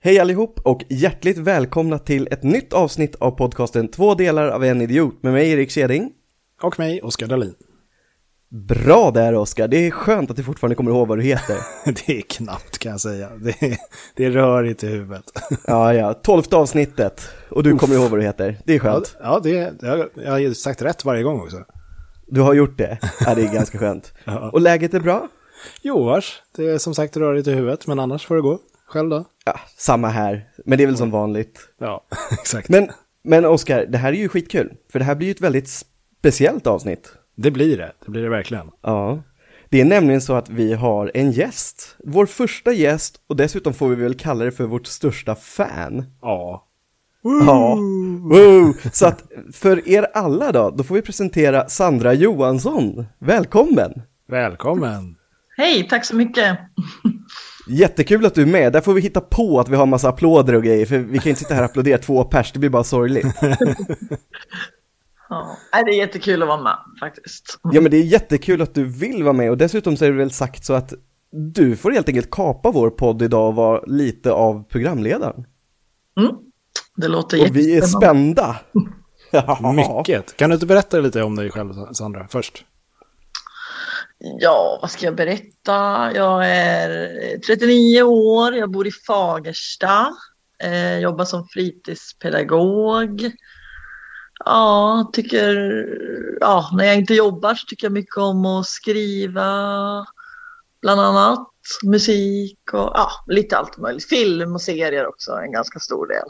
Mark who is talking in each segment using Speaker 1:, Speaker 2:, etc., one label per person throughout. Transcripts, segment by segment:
Speaker 1: Hej allihop och hjärtligt välkomna till ett nytt avsnitt av podcasten Två delar av en idiot med mig Erik Kjeding.
Speaker 2: Och mig, Oskar Dahlin.
Speaker 1: Bra där Oskar, det är skönt att du fortfarande kommer ihåg vad du heter.
Speaker 2: Det är knappt kan jag säga. Det är, det är rörigt i huvudet.
Speaker 1: ja, ja, tolfte avsnittet och du kommer ihåg vad du heter. Det är skönt.
Speaker 2: Ja, det, det har, jag har ju sagt rätt varje gång också.
Speaker 1: Du har gjort det. Ja, det är ganska skönt.
Speaker 2: Ja.
Speaker 1: Och läget är bra?
Speaker 2: Jo, vars. Det är som sagt rörigt i huvudet, men annars får det gå. Själv då?
Speaker 1: Ja, samma här, men det är väl som vanligt.
Speaker 2: Ja, exakt.
Speaker 1: Men, men Oskar, det här är ju skitkul, för det här blir ju ett väldigt speciellt avsnitt.
Speaker 2: Det blir det. Det blir det verkligen.
Speaker 1: Ja. Det är nämligen så att vi har en gäst. Vår första gäst och dessutom får vi väl kalla det för vårt största fan.
Speaker 2: Ja.
Speaker 1: Ja. Woo! Så att för er alla då, då får vi presentera Sandra Johansson. Välkommen!
Speaker 2: Välkommen.
Speaker 3: Hej, tack så mycket.
Speaker 1: Jättekul att du är med. Där får vi hitta på att vi har massa applåder och grejer, för vi kan ju inte sitta här och applådera två pers, det blir bara sorgligt.
Speaker 3: Ja, nej, det är jättekul att vara med faktiskt.
Speaker 1: Ja, men det är jättekul att du vill vara med och dessutom så är det väl sagt så att du får helt enkelt kapa vår podd idag och vara lite av programledaren.
Speaker 3: Mm. Det låter
Speaker 1: Och vi är
Speaker 3: jättespännande.
Speaker 1: spända. Ja.
Speaker 2: Mycket. Kan du inte berätta lite om dig själv, Sandra, först?
Speaker 3: Ja, vad ska jag berätta? Jag är 39 år, jag bor i Fagersta, eh, jobbar som fritidspedagog. Ja, tycker, ja, när jag inte jobbar så tycker jag mycket om att skriva, bland annat musik och ja, lite allt möjligt. Film och serier också, en ganska stor del.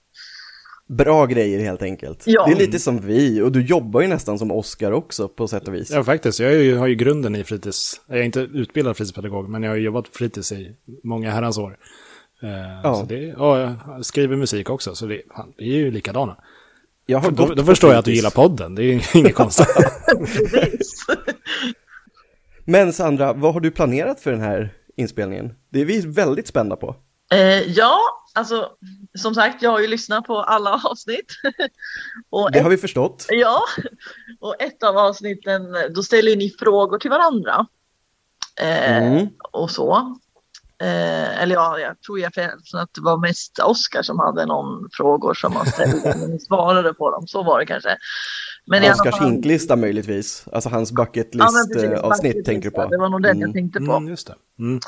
Speaker 1: Bra grejer helt enkelt.
Speaker 3: Ja.
Speaker 1: Det är lite som vi, och du jobbar ju nästan som Oscar också på sätt och vis.
Speaker 2: Ja, faktiskt. Jag är ju, har ju grunden i fritids... Jag är inte utbildad fritidspedagog, men jag har ju jobbat på fritids i många herrans år. Eh, Så det, ja, jag skriver musik också, så det, fan, vi är ju likadana.
Speaker 1: Jag har
Speaker 2: Då,
Speaker 1: gått
Speaker 2: då
Speaker 1: på
Speaker 2: förstår jag att du
Speaker 1: fritids.
Speaker 2: gillar podden, det är ju inget konstigt.
Speaker 3: Precis.
Speaker 1: Men Sandra, vad har du planerat för den här inspelningen? Det är vi väldigt spända på.
Speaker 3: Eh, ja, alltså som sagt, jag har ju lyssnat på alla avsnitt. och,
Speaker 1: Det
Speaker 3: ett,
Speaker 1: har vi förstått.
Speaker 3: ja, och ett av avsnitten, då ställer ju ni frågor till varandra. Eh,
Speaker 1: Mm.
Speaker 3: Och så. Eh, eller ja, jag tror jag förresten att det var mest Oskar som hade någon frågor som han ställde, men ni svarade på dem. Så var det kanske. Men i alla
Speaker 1: Oscars
Speaker 3: fall-
Speaker 1: hinklista möjligtvis, alltså hans bucket
Speaker 3: Ja, men precis,
Speaker 1: list-avsnitt
Speaker 3: faktiskt,
Speaker 1: tänker du på.
Speaker 3: Det var nog den jag
Speaker 1: Mm.
Speaker 3: tänkte på.
Speaker 2: Mm, just det. Mm.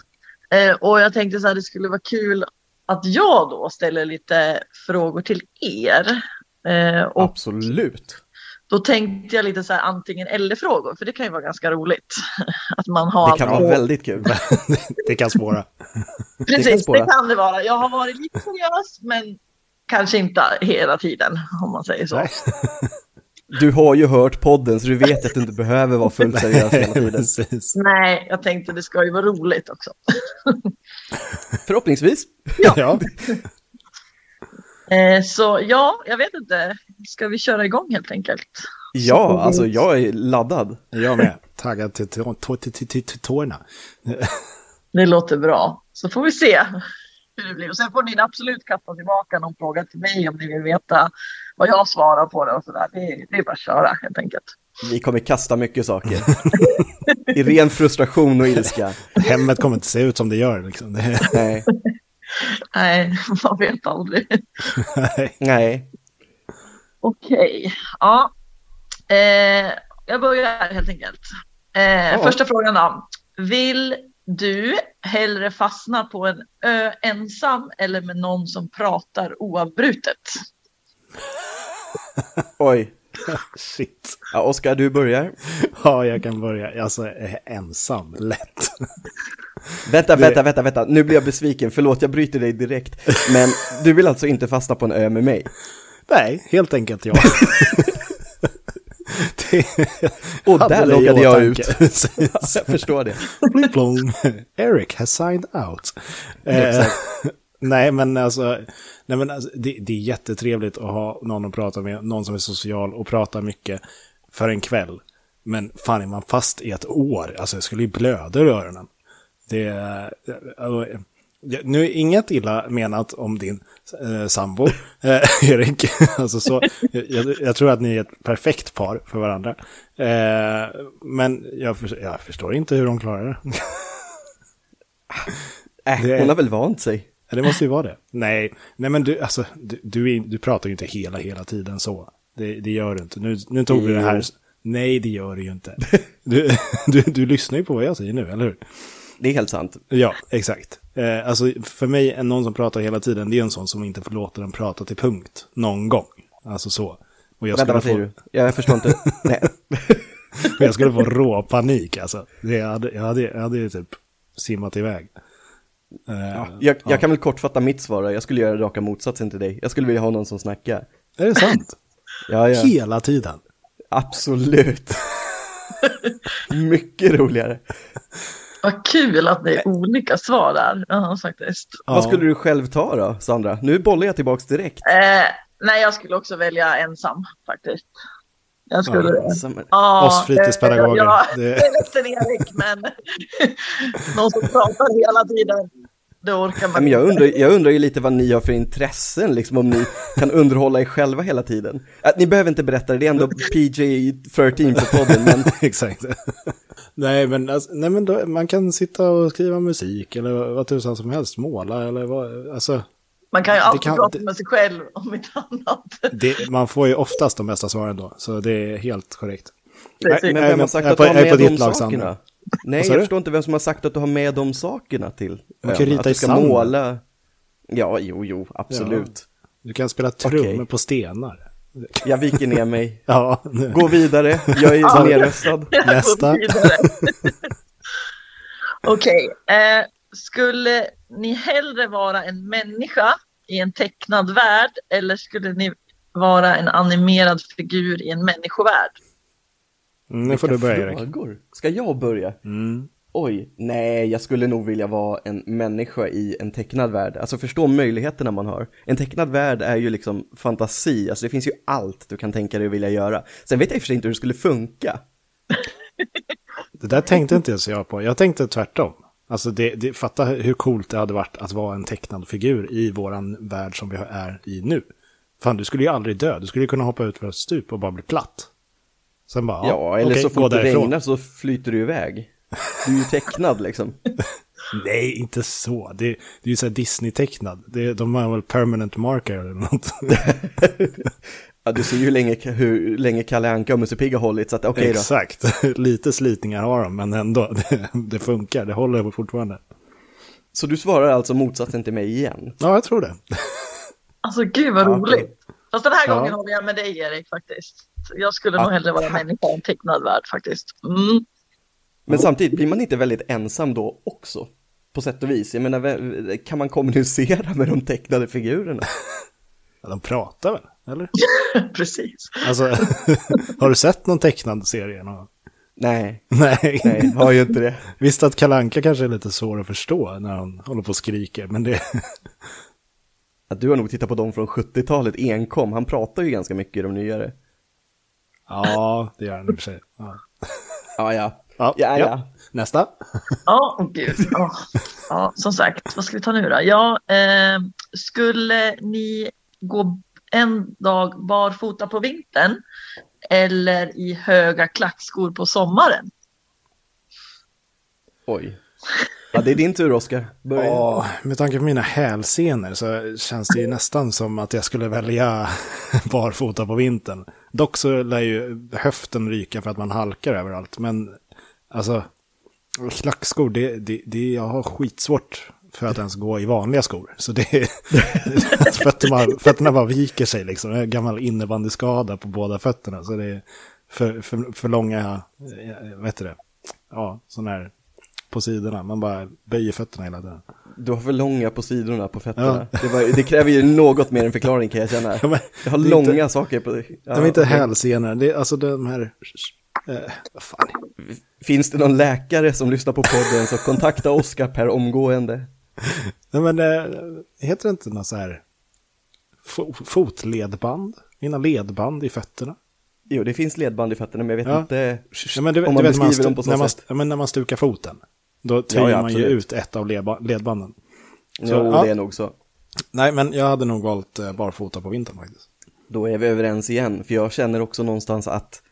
Speaker 3: Eh, och jag tänkte så här, det skulle vara kul att jag då ställer lite frågor till er. Eh, och
Speaker 1: Absolut.
Speaker 3: då tänkte jag lite så här antingen eller frågor, för det kan ju vara ganska roligt. Att man har
Speaker 1: Det kan
Speaker 3: allt-
Speaker 1: vara väldigt kul.
Speaker 2: Det kan spåra.
Speaker 3: Precis,
Speaker 1: det kan
Speaker 3: det
Speaker 1: spåra.
Speaker 3: kan, det vara. Jag har varit lite seriös, men kanske inte hela tiden, om man säger så.
Speaker 2: Nej.
Speaker 1: Du har ju hört podden så du vet att du inte behöver vara fullt seriös hela tiden.
Speaker 2: Precis.
Speaker 3: Nej, jag tänkte det ska ju vara roligt också.
Speaker 1: Förhoppningsvis.
Speaker 2: Ja. Ja.
Speaker 3: Eh, så ja, jag vet inte. Ska vi köra igång helt enkelt?
Speaker 1: Ja, alltså jag är laddad.
Speaker 2: Jag med. Taggad till tå- tå- till- till- till- till tårna.
Speaker 3: Det låter bra. Så får vi se hur det blir. Och sen får ni absolut kasta tillbaka någon fråga till mig om ni vill veta vad jag svarar på det och sådär. Det, är- det är bara att köra helt enkelt.
Speaker 1: Vi kommer kasta mycket saker. I ren frustration och ilska.
Speaker 2: Hemmet kommer inte se ut som det gör. Liksom. Det,
Speaker 1: Nej.
Speaker 3: Nej, man vet aldrig.
Speaker 2: nej.
Speaker 1: Nej.
Speaker 3: Okej, ja. Eh, jag börjar helt enkelt. Eh, Första frågan då. Vill du hellre fastna på en ö ensam eller med någon som pratar oavbrutet?
Speaker 1: Oj.
Speaker 2: Shit.
Speaker 1: Ja, Oskar, du börjar.
Speaker 2: Ja, jag kan börja. Alltså, eh, ensam. Lätt.
Speaker 1: Vänta, vänta, vänta, vänta. Nu blir jag besviken. Förlåt, jag bryter dig direkt. Men du vill alltså inte fastna på en ö med mig?
Speaker 2: Nej, helt enkelt ja. Det,
Speaker 1: Och
Speaker 2: hade
Speaker 1: där
Speaker 2: det i
Speaker 1: lockade jag
Speaker 2: åtanke.
Speaker 1: ut.
Speaker 2: Precis.
Speaker 1: Jag förstår det.
Speaker 2: Pling plong. Eric has signed out. Eh, nej, men alltså, nej, men alltså det, det är jättetrevligt att ha någon att prata med, någon som är social och pratar mycket för en kväll. Men fan är man fast i ett år, alltså jag skulle ju blöda ur öronen. Det, är- alltså, det- nu är inget illa menat om din eh, sambo, eh, Erik. alltså så, jag, jag tror att ni är ett perfekt par för varandra. Eh, men jag, för, jag förstår inte hur de klarar det.
Speaker 1: Äh,
Speaker 2: Det-
Speaker 1: hon har väl vant sig.
Speaker 2: Ja, Det måste ju vara det. Nej, nej men du, alltså, du, du, är- du pratar ju inte hela, hela tiden så. Det, det gör du inte. Nu, nu tog vi det här. Nej, det gör du ju inte. Du, du, du lyssnar ju på vad jag säger nu, eller hur?
Speaker 1: Det är helt sant.
Speaker 2: Ja, exakt. Eh, alltså, för mig är någon som pratar hela tiden, det är en sån som inte får låta den prata till punkt någon gång. Alltså så. Och jag
Speaker 1: Vänta,
Speaker 2: skulle,
Speaker 1: vad säger
Speaker 2: få,
Speaker 1: du? Jag förstår inte. Nej.
Speaker 2: och jag skulle få rå panik alltså. Det, jag, hade, jag, hade, jag hade ju typ simmat iväg. Eh,
Speaker 1: Jag, jag kan väl kortfatta mitt svar då. Jag skulle göra raka motsatsen till dig. Jag skulle vilja ha någon som snackar.
Speaker 2: Är det sant?
Speaker 1: Ja, ja.
Speaker 2: Hela tiden.
Speaker 1: Absolut. Mycket roligare.
Speaker 3: Vad kul att det är olika svar där, ja, faktiskt.
Speaker 1: Vad skulle du själv ta då, Sandra? Nu bollar jag tillbaks direkt.
Speaker 3: Eh, nej, jag skulle också välja ensam faktiskt. Jag skulle... Ja, eh,
Speaker 1: Som-
Speaker 2: Oss fritidspedagoger.
Speaker 3: Ja,
Speaker 2: Det-
Speaker 3: det är ledsen Erik, men någon som pratar hela tiden, det orkar
Speaker 1: Ja,
Speaker 3: man
Speaker 1: men jag,
Speaker 3: inte.
Speaker 1: undrar, jag undrar ju lite vad ni har för intressen, liksom om ni kan underhålla er själva hela tiden. Äh, ni behöver inte berätta det, det är ändå PJ13 på podden, men
Speaker 2: Exakt. nej, men, alltså, nej, men då, man kan sitta och skriva musik eller vad tusan som helst, måla eller vad, alltså.
Speaker 3: Man kan ju
Speaker 2: det
Speaker 3: alltid
Speaker 2: kan-
Speaker 3: prata
Speaker 2: det-
Speaker 3: med sig själv om inte annat.
Speaker 2: Det, man får ju oftast de bästa svaren då, så det är helt korrekt.
Speaker 1: Nej, men vem har
Speaker 2: men
Speaker 1: sagt
Speaker 2: jag
Speaker 1: att
Speaker 2: på-
Speaker 1: du har
Speaker 2: jag är på
Speaker 1: med de
Speaker 2: ditt lag, Sandra.
Speaker 1: sakerna? Nej,
Speaker 2: Vad sa
Speaker 1: jag
Speaker 2: du?
Speaker 1: förstår inte vem som har sagt att du har med de sakerna till.
Speaker 2: Man kan
Speaker 1: ön.
Speaker 2: rita
Speaker 1: att du
Speaker 2: i
Speaker 1: ska
Speaker 2: sanden.
Speaker 1: måla. Ja, jo, jo, absolut.
Speaker 2: Du kan spela trummor på stenar.
Speaker 1: Jag viker ner mig.
Speaker 2: Ja, nu.
Speaker 1: Gå vidare, jag är nerröstad.
Speaker 2: Nästa.
Speaker 3: Gå vidare. Okej, eh, skulle ni hellre vara en människa i en tecknad värld eller skulle ni vara en animerad figur i en människovärld?
Speaker 2: Mm, nu får du
Speaker 1: Vilka
Speaker 2: börja Erik.
Speaker 1: frågor. Ska jag börja?
Speaker 2: Mm.
Speaker 1: Oj, nej, jag skulle nog vilja vara en människa i en tecknad värld. Alltså förstå möjligheterna man har. En tecknad värld är ju liksom fantasi, alltså det finns ju allt du kan tänka dig och vilja göra. Sen vet jag i och för sig inte hur det skulle funka.
Speaker 2: Det där tänkte inte ens jag på. Jag tänkte tvärtom. Alltså, det, det, fatta hur coolt det hade varit att vara en tecknad figur i våran värld som vi är i nu. Fan, du skulle ju aldrig dö. Du skulle ju kunna hoppa ut från ett stup och bara bli platt. Sen bara,
Speaker 1: Ja, eller
Speaker 2: okej,
Speaker 1: så
Speaker 2: gå
Speaker 1: fort det
Speaker 2: därifrån.
Speaker 1: regnar så flyter du iväg. Du är ju tecknad liksom.
Speaker 2: Nej, inte så. Det, det är ju så här Disney-tecknad. Det- De har väl permanent marker eller något.
Speaker 1: Ja, du ser ju hur länge, hur länge Kalle Anka och Musse Pigg har hållit, så att okej då.
Speaker 2: Exakt. Lite slitningar har de, men ändå. Det, det funkar. Det håller fortfarande.
Speaker 1: Så du svarar alltså motsatsen till mig igen.
Speaker 2: Ja, jag tror det.
Speaker 3: Alltså gud vad
Speaker 2: Ja.
Speaker 3: roligt. Fast den här
Speaker 2: Ja.
Speaker 3: gången håller jag med dig Erik faktiskt. Jag skulle
Speaker 1: Ja,
Speaker 3: nog hellre vara en
Speaker 1: tack.
Speaker 3: människa i en tecknad värld faktiskt. Mm.
Speaker 1: Men samtidigt, blir man inte väldigt ensam då också? På sätt och vis. Jag menar, vä- kan man kommunicera med de tecknade figurerna?
Speaker 2: Ja, de pratar väl? Eller?
Speaker 3: Precis.
Speaker 2: Alltså, har du sett någon tecknad serie? någon gång?
Speaker 1: Nej,
Speaker 2: Nej.
Speaker 1: nej, har ju inte det.
Speaker 2: Visst att Kalanka kanske är lite svår att förstå när hon håller på och skriker, men det...
Speaker 1: Ja, du har nog tittat på dem från 70-talet enkom. Han pratar ju ganska mycket i de nyare.
Speaker 2: Ja, det gör den i och för sig. Ja.
Speaker 1: Ja, ja.
Speaker 2: Ja,
Speaker 1: ja. ja.
Speaker 2: Nästa.
Speaker 3: Ja, åh gud. Ja. Ja, som sagt, vad ska vi ta nu då? Ja, eh, skulle ni gå en dag barfota på vintern eller i höga klackskor på sommaren?
Speaker 1: Oj. Ja, det är din tur, Oskar. Börja.
Speaker 2: Ja, med tanke på mina hälsenor så känns det ju nästan som att jag skulle välja barfota på vintern. Dock så lär ju höften ryka för att man halkar överallt, men alltså klackskor, det, det, det, jag har skitsvårt för att ens gå i vanliga skor. Så det, alltså fötterna, fötterna bara viker sig liksom. Jag har en gammal innebandyskada på båda fötterna. Så det är för, för, för långa, eh, vad heter det, ja, sådana här på sidorna. Man bara böjer fötterna hela tiden.
Speaker 1: Du har för långa på sidorna på fötterna. Det, var, det kräver ju något mer än förklaring kan jag känna.
Speaker 2: Ja, men
Speaker 1: jag har
Speaker 2: det är
Speaker 1: långa
Speaker 2: inte-
Speaker 1: saker på... Ja,
Speaker 2: de är inte
Speaker 1: okej.
Speaker 2: hälsenor, det är alltså de här... Eh, vad fan.
Speaker 1: Finns det någon läkare som lyssnar på podden så kontakta Oskar per omgående.
Speaker 2: Nej men, eh, heter det inte något så här... Fo- fotledband? Mina ledband i fötterna?
Speaker 1: Jo, det finns ledband i fötterna, men jag vet
Speaker 2: Ja.
Speaker 1: inte...
Speaker 2: Ja, men du,
Speaker 1: Om
Speaker 2: om
Speaker 1: man
Speaker 2: man du vet, man
Speaker 1: beskriver dem
Speaker 2: stu-
Speaker 1: på så
Speaker 2: när man,
Speaker 1: sätt.
Speaker 2: ja, men när man stukar foten, då töjer
Speaker 1: ja,
Speaker 2: man ju
Speaker 1: absolut.
Speaker 2: ut ett av ledba- ledbanden.
Speaker 1: Jo,
Speaker 2: Så, ja.
Speaker 1: det är nog så.
Speaker 2: Nej, men jag hade nog valt eh, barfota på vintern faktiskt.
Speaker 1: Då är vi överens igen, för jag känner också någonstans att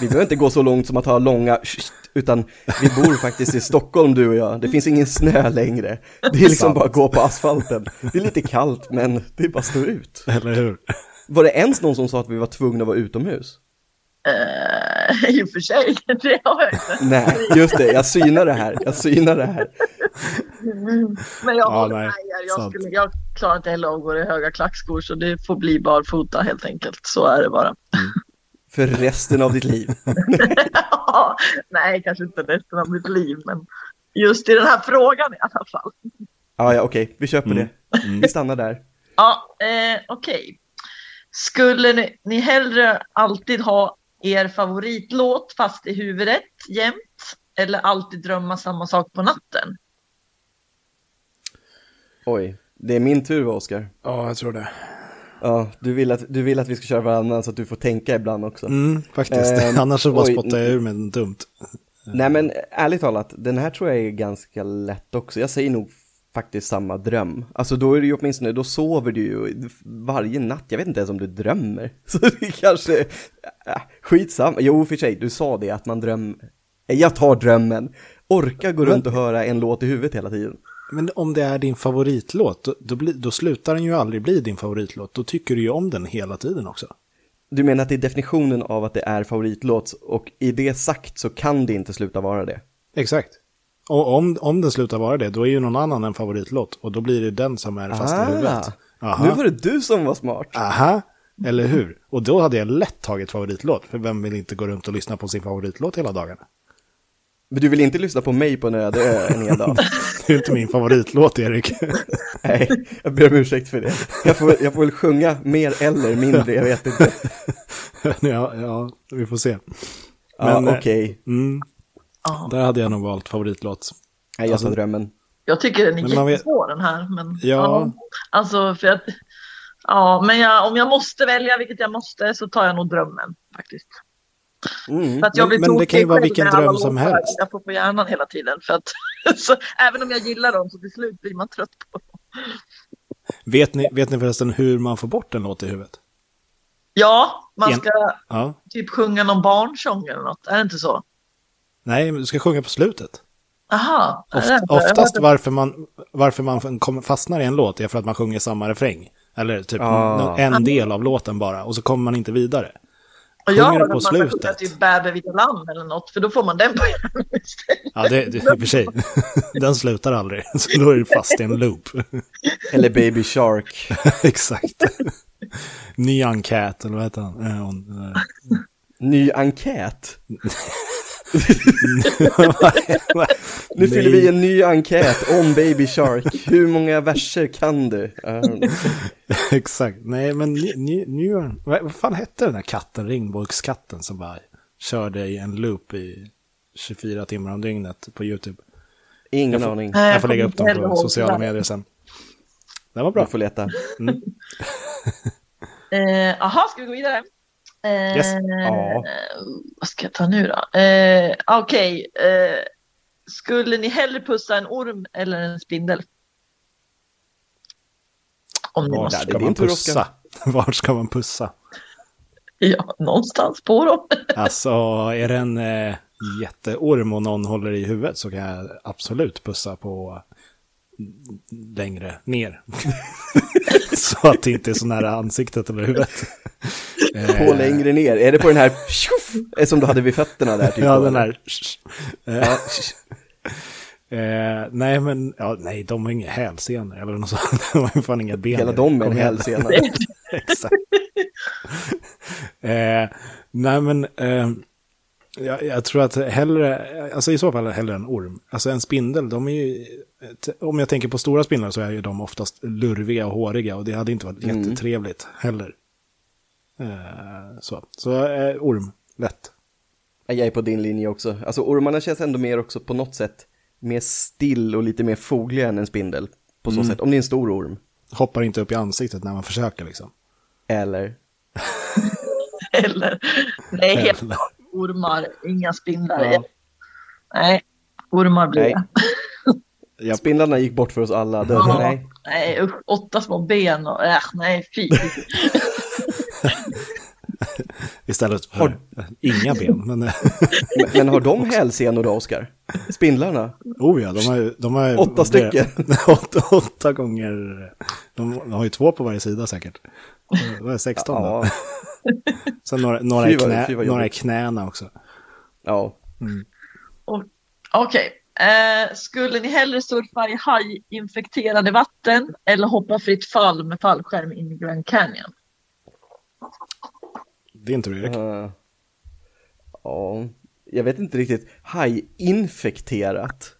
Speaker 1: vi behöver inte gå så långt som att ha långa utan vi bor faktiskt i Stockholm du och jag. Det finns ingen snö längre. Det är liksom
Speaker 2: Sant.
Speaker 1: bara att gå på asfalten. Det är lite kallt men det bara står ut.
Speaker 2: Eller hur?
Speaker 1: Var det ens någon som sa att vi var tvungna att vara utomhus?
Speaker 3: Eh, I och för sig, det har jag inte.
Speaker 1: Nej, just det, jag synar det här, jag synar det här.
Speaker 3: Men jag
Speaker 2: Ja,
Speaker 3: håller
Speaker 2: nej,
Speaker 3: med er. Jag,
Speaker 2: sant.
Speaker 3: skulle, jag klarar inte heller av att gå i höga klackskor så det får bli barfota helt enkelt. Så är det bara.
Speaker 1: För resten av ditt liv.
Speaker 3: nej, kanske inte resten av mitt liv men just i den här frågan i alla fall.
Speaker 1: Ah, ja, okej, vi köper
Speaker 2: Mm.
Speaker 1: det. Vi stannar där.
Speaker 3: Ja, eh, okej. Skulle ni, ni hellre alltid ha er favoritlåt fast i huvudet jämt? Eller alltid drömma samma sak på natten?
Speaker 1: Oj, det är min tur va, Oskar?
Speaker 2: Ja, jag tror det.
Speaker 1: Ja, du vill, att, du vill att vi ska köra varannan så att du får tänka ibland också.
Speaker 2: Mm, faktiskt.
Speaker 1: Ehm,
Speaker 2: Annars så bara
Speaker 1: oj.
Speaker 2: spottar jag ur mig något dumt.
Speaker 1: Nej men ärligt talat, den här tror jag är ganska lätt också. Jag säger nog faktiskt samma dröm. Alltså då är det ju åtminstone, då sover du ju varje natt. Jag vet inte ens om du drömmer. Så det kanske, äh, skitsamma. Jo, för sig, du sa det att man drömmer. Jag tar drömmen. Orka gå runt och höra en låt i huvudet hela tiden.
Speaker 2: Men om det är din favoritlåt, då, då, blir- då slutar den ju aldrig bli din favoritlåt. Då tycker du ju om den hela tiden också.
Speaker 1: Du menar att det är definitionen av att det är favoritlåt och i det sagt så kan det inte sluta vara det.
Speaker 2: Exakt. Och om, om den slutar vara det, då är ju någon annan en favoritlåt. Och då blir det den som är
Speaker 1: Ah.
Speaker 2: fast i huvudet. Aha.
Speaker 1: nu var det du som var smart.
Speaker 2: Aha, eller hur? Och då hade jag lätt tagit favoritlåt, för vem vill inte gå runt och lyssna på sin favoritlåt hela dagarna?
Speaker 1: Men du vill inte lyssna på mig på en öde ö en hel dag.
Speaker 2: Det är ju inte min favoritlåt, Erik.
Speaker 1: Nej, jag ber om ursäkt för det. Jag får, jag får väl sjunga mer eller mindre, jag vet inte.
Speaker 2: ja, ja, vi får se.
Speaker 1: Ja,
Speaker 2: Men, eh,
Speaker 1: okej.
Speaker 2: Mm,
Speaker 3: Ja,
Speaker 2: där hade jag nog valt favoritlåt.
Speaker 1: Nej, jag tar
Speaker 2: alltså-
Speaker 1: drömmen.
Speaker 3: jag tycker den är
Speaker 2: Men man vet-
Speaker 3: jättesvår den här. Men,
Speaker 2: Ja.
Speaker 3: alltså, för att, ja, men jag, om jag måste välja, vilket jag måste, så tar jag nog drömmen faktiskt.
Speaker 1: Mm.
Speaker 3: För att jag
Speaker 2: Men-
Speaker 3: blir
Speaker 2: men det
Speaker 3: tokig
Speaker 2: kan ju vara
Speaker 3: själv
Speaker 2: vilken
Speaker 3: med alla
Speaker 2: dröm som
Speaker 3: låtar.
Speaker 2: helst.
Speaker 3: Jag får på hjärnan hela tiden. För att, så, även om jag gillar dem så till slut blir man trött på dem.
Speaker 2: Vet ni, vet ni förresten hur man får bort en låt i huvudet?
Speaker 3: Ja, man
Speaker 2: Igen.
Speaker 3: ska
Speaker 2: Ja.
Speaker 3: typ sjunga någon barnsång eller något. Är det inte så?
Speaker 2: Nej, men du ska sjunga på slutet.
Speaker 3: Aha. är
Speaker 2: Oft,
Speaker 3: det inte?
Speaker 2: oftast varför man, varför man kommer- fastnar i en låt är för att man sjunger samma refräng. Eller typ
Speaker 1: Ah.
Speaker 2: n- en del av låten bara, och så kommer man inte vidare.
Speaker 3: Och jag
Speaker 2: sjunger
Speaker 3: har
Speaker 2: på
Speaker 3: att man ska sjunga
Speaker 2: slutet.
Speaker 3: typ Bäbe vita lamm eller något, för då får man den på hjärnan istället.
Speaker 2: Ja, det, det, i och för sig. Den slutar aldrig, så då är du fast i en loop.
Speaker 1: Eller Baby Shark.
Speaker 2: Exakt. Ny enkät, eller vad heter han? Eh, hon, eh,
Speaker 1: Ny enkät. Nu
Speaker 2: Nej.
Speaker 1: fyller vi en ny enkät om Baby Shark. Hur många verser kan du? Um,
Speaker 2: Exakt. Nej, men ny, ny, ny, vad, vad fan hette den där katten, regnbågskatten, som bara körde i en loop i 24 timmar om dygnet på YouTube?
Speaker 1: ingen
Speaker 2: Jag får-
Speaker 1: aning.
Speaker 2: Jag får lägga upp
Speaker 3: kommer inte
Speaker 2: dem på
Speaker 3: ihåg
Speaker 2: sociala
Speaker 3: det. Mm.
Speaker 2: medier sen. Den var
Speaker 1: Bra.
Speaker 2: bra.
Speaker 1: får leta.
Speaker 3: Eh, Aha, ska vi gå vidare? Eh,
Speaker 2: Yes.
Speaker 1: Ja.
Speaker 3: Vad ska jag ta nu då? Eh, Okej. Eh, skulle ni hellre pussa en orm eller en spindel? Om ni
Speaker 2: Var
Speaker 3: måste.
Speaker 1: det är
Speaker 2: ska man
Speaker 1: din tur,
Speaker 2: pussa? Var ska man pussa?
Speaker 3: Ja, någonstans på dem.
Speaker 2: Alltså, är det en eh, jätteorm och någon håller i huvudet så kan jag absolut pussa på längre ner. så att det inte är så nära ansiktet eller huvudet.
Speaker 1: På längre ner. Är det på den här tjoff, som du hade vid fötterna där? Typ,
Speaker 2: Ja,
Speaker 1: då,
Speaker 2: den
Speaker 1: eller?
Speaker 2: här. Eh,
Speaker 1: Ja,
Speaker 2: eh, nej, men ja, nej, de har inga hälsenor eller något sånt. De har ju fan inga ben.
Speaker 1: hela dem är en
Speaker 2: Kom igen.
Speaker 1: hälsena.
Speaker 2: Exakt. eh, nej, men eh, jag, jag tror att hellre, alltså i så fall hellre en orm. Alltså en spindel, de är ju, t- om jag tänker på stora spindlar så är ju de oftast lurviga och håriga och det hade inte varit
Speaker 1: Mm.
Speaker 2: jättetrevligt heller. Eh, så, så eh, orm, lätt.
Speaker 1: Ja, Jag är på din linje också. Alltså ormarna känns ändå mer också på något sätt mer still och lite mer fogliga än en spindel. På
Speaker 2: Mm.
Speaker 1: så sätt, om det är en stor orm.
Speaker 2: Hoppar inte upp i ansiktet när man försöker liksom.
Speaker 1: Eller?
Speaker 3: Eller, nej, helt
Speaker 2: Eller-
Speaker 3: klart ormar, inga spindlar.
Speaker 2: Ja.
Speaker 3: Nej, ormar blir
Speaker 1: Nej.
Speaker 3: det.
Speaker 2: Japp.
Speaker 1: Spindlarna gick bort för oss alla. Döden,
Speaker 3: Ja.
Speaker 1: nej.
Speaker 3: Nej, usch, åtta små ben och äh, nej, fy.
Speaker 2: Istället för
Speaker 1: Har-
Speaker 2: inga ben. Men,
Speaker 1: Men, men har de hälsenor då, Oskar? Spindlarna?
Speaker 2: oh ja, de har ju... De har ju
Speaker 1: Åtta
Speaker 2: det-
Speaker 1: stycken.
Speaker 2: åtta, åtta gånger... De, de har ju två på varje sida säkert. Det var 16 då.
Speaker 1: Ja,
Speaker 2: Sen några, några,
Speaker 1: Fy
Speaker 2: i
Speaker 1: vad-
Speaker 2: knä,
Speaker 1: fy vad
Speaker 2: några i
Speaker 1: jobbigt.
Speaker 2: knäna också.
Speaker 1: ja.
Speaker 3: Och- Okej. Eh, skulle ni hellre surfa i hajinfekterade vatten eller hoppa fritt fall med fallskärm in i Grand Canyon?
Speaker 2: Det är inte du, Erik.
Speaker 1: Eh, ja. Jag vet inte riktigt. Hajinfekterat?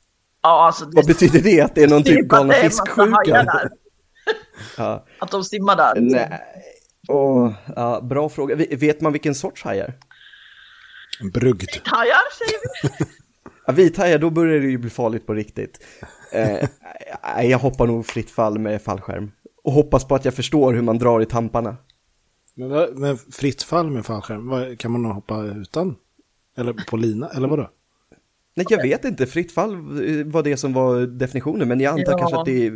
Speaker 3: Ja, alltså det
Speaker 1: Vad betyder det? Att det är någon typ galna
Speaker 3: det är en massa hajar
Speaker 1: fisksjukan?
Speaker 3: där.
Speaker 1: Ja.
Speaker 3: Att de simmar där.
Speaker 1: Nej. Åh, ja, bra fråga. Vi- Vet man vilken sorts hajar?
Speaker 2: Brugd.
Speaker 3: Hajar säger vi.
Speaker 1: Ja, vithajar, då börjar det ju bli farligt på riktigt. Eh, nej, jag hoppar nog fritt fall med fallskärm. Och hoppas på att jag förstår hur man drar i tamparna.
Speaker 2: Men, vad- men fritt fall med fallskärm, vad- kan man nog hoppa utan? Eller på lina, eller vadå?
Speaker 1: Nej, jag vet inte. Fritt fall eh, var det som var definitionen, men jag antar
Speaker 3: Ja.
Speaker 1: kanske att det är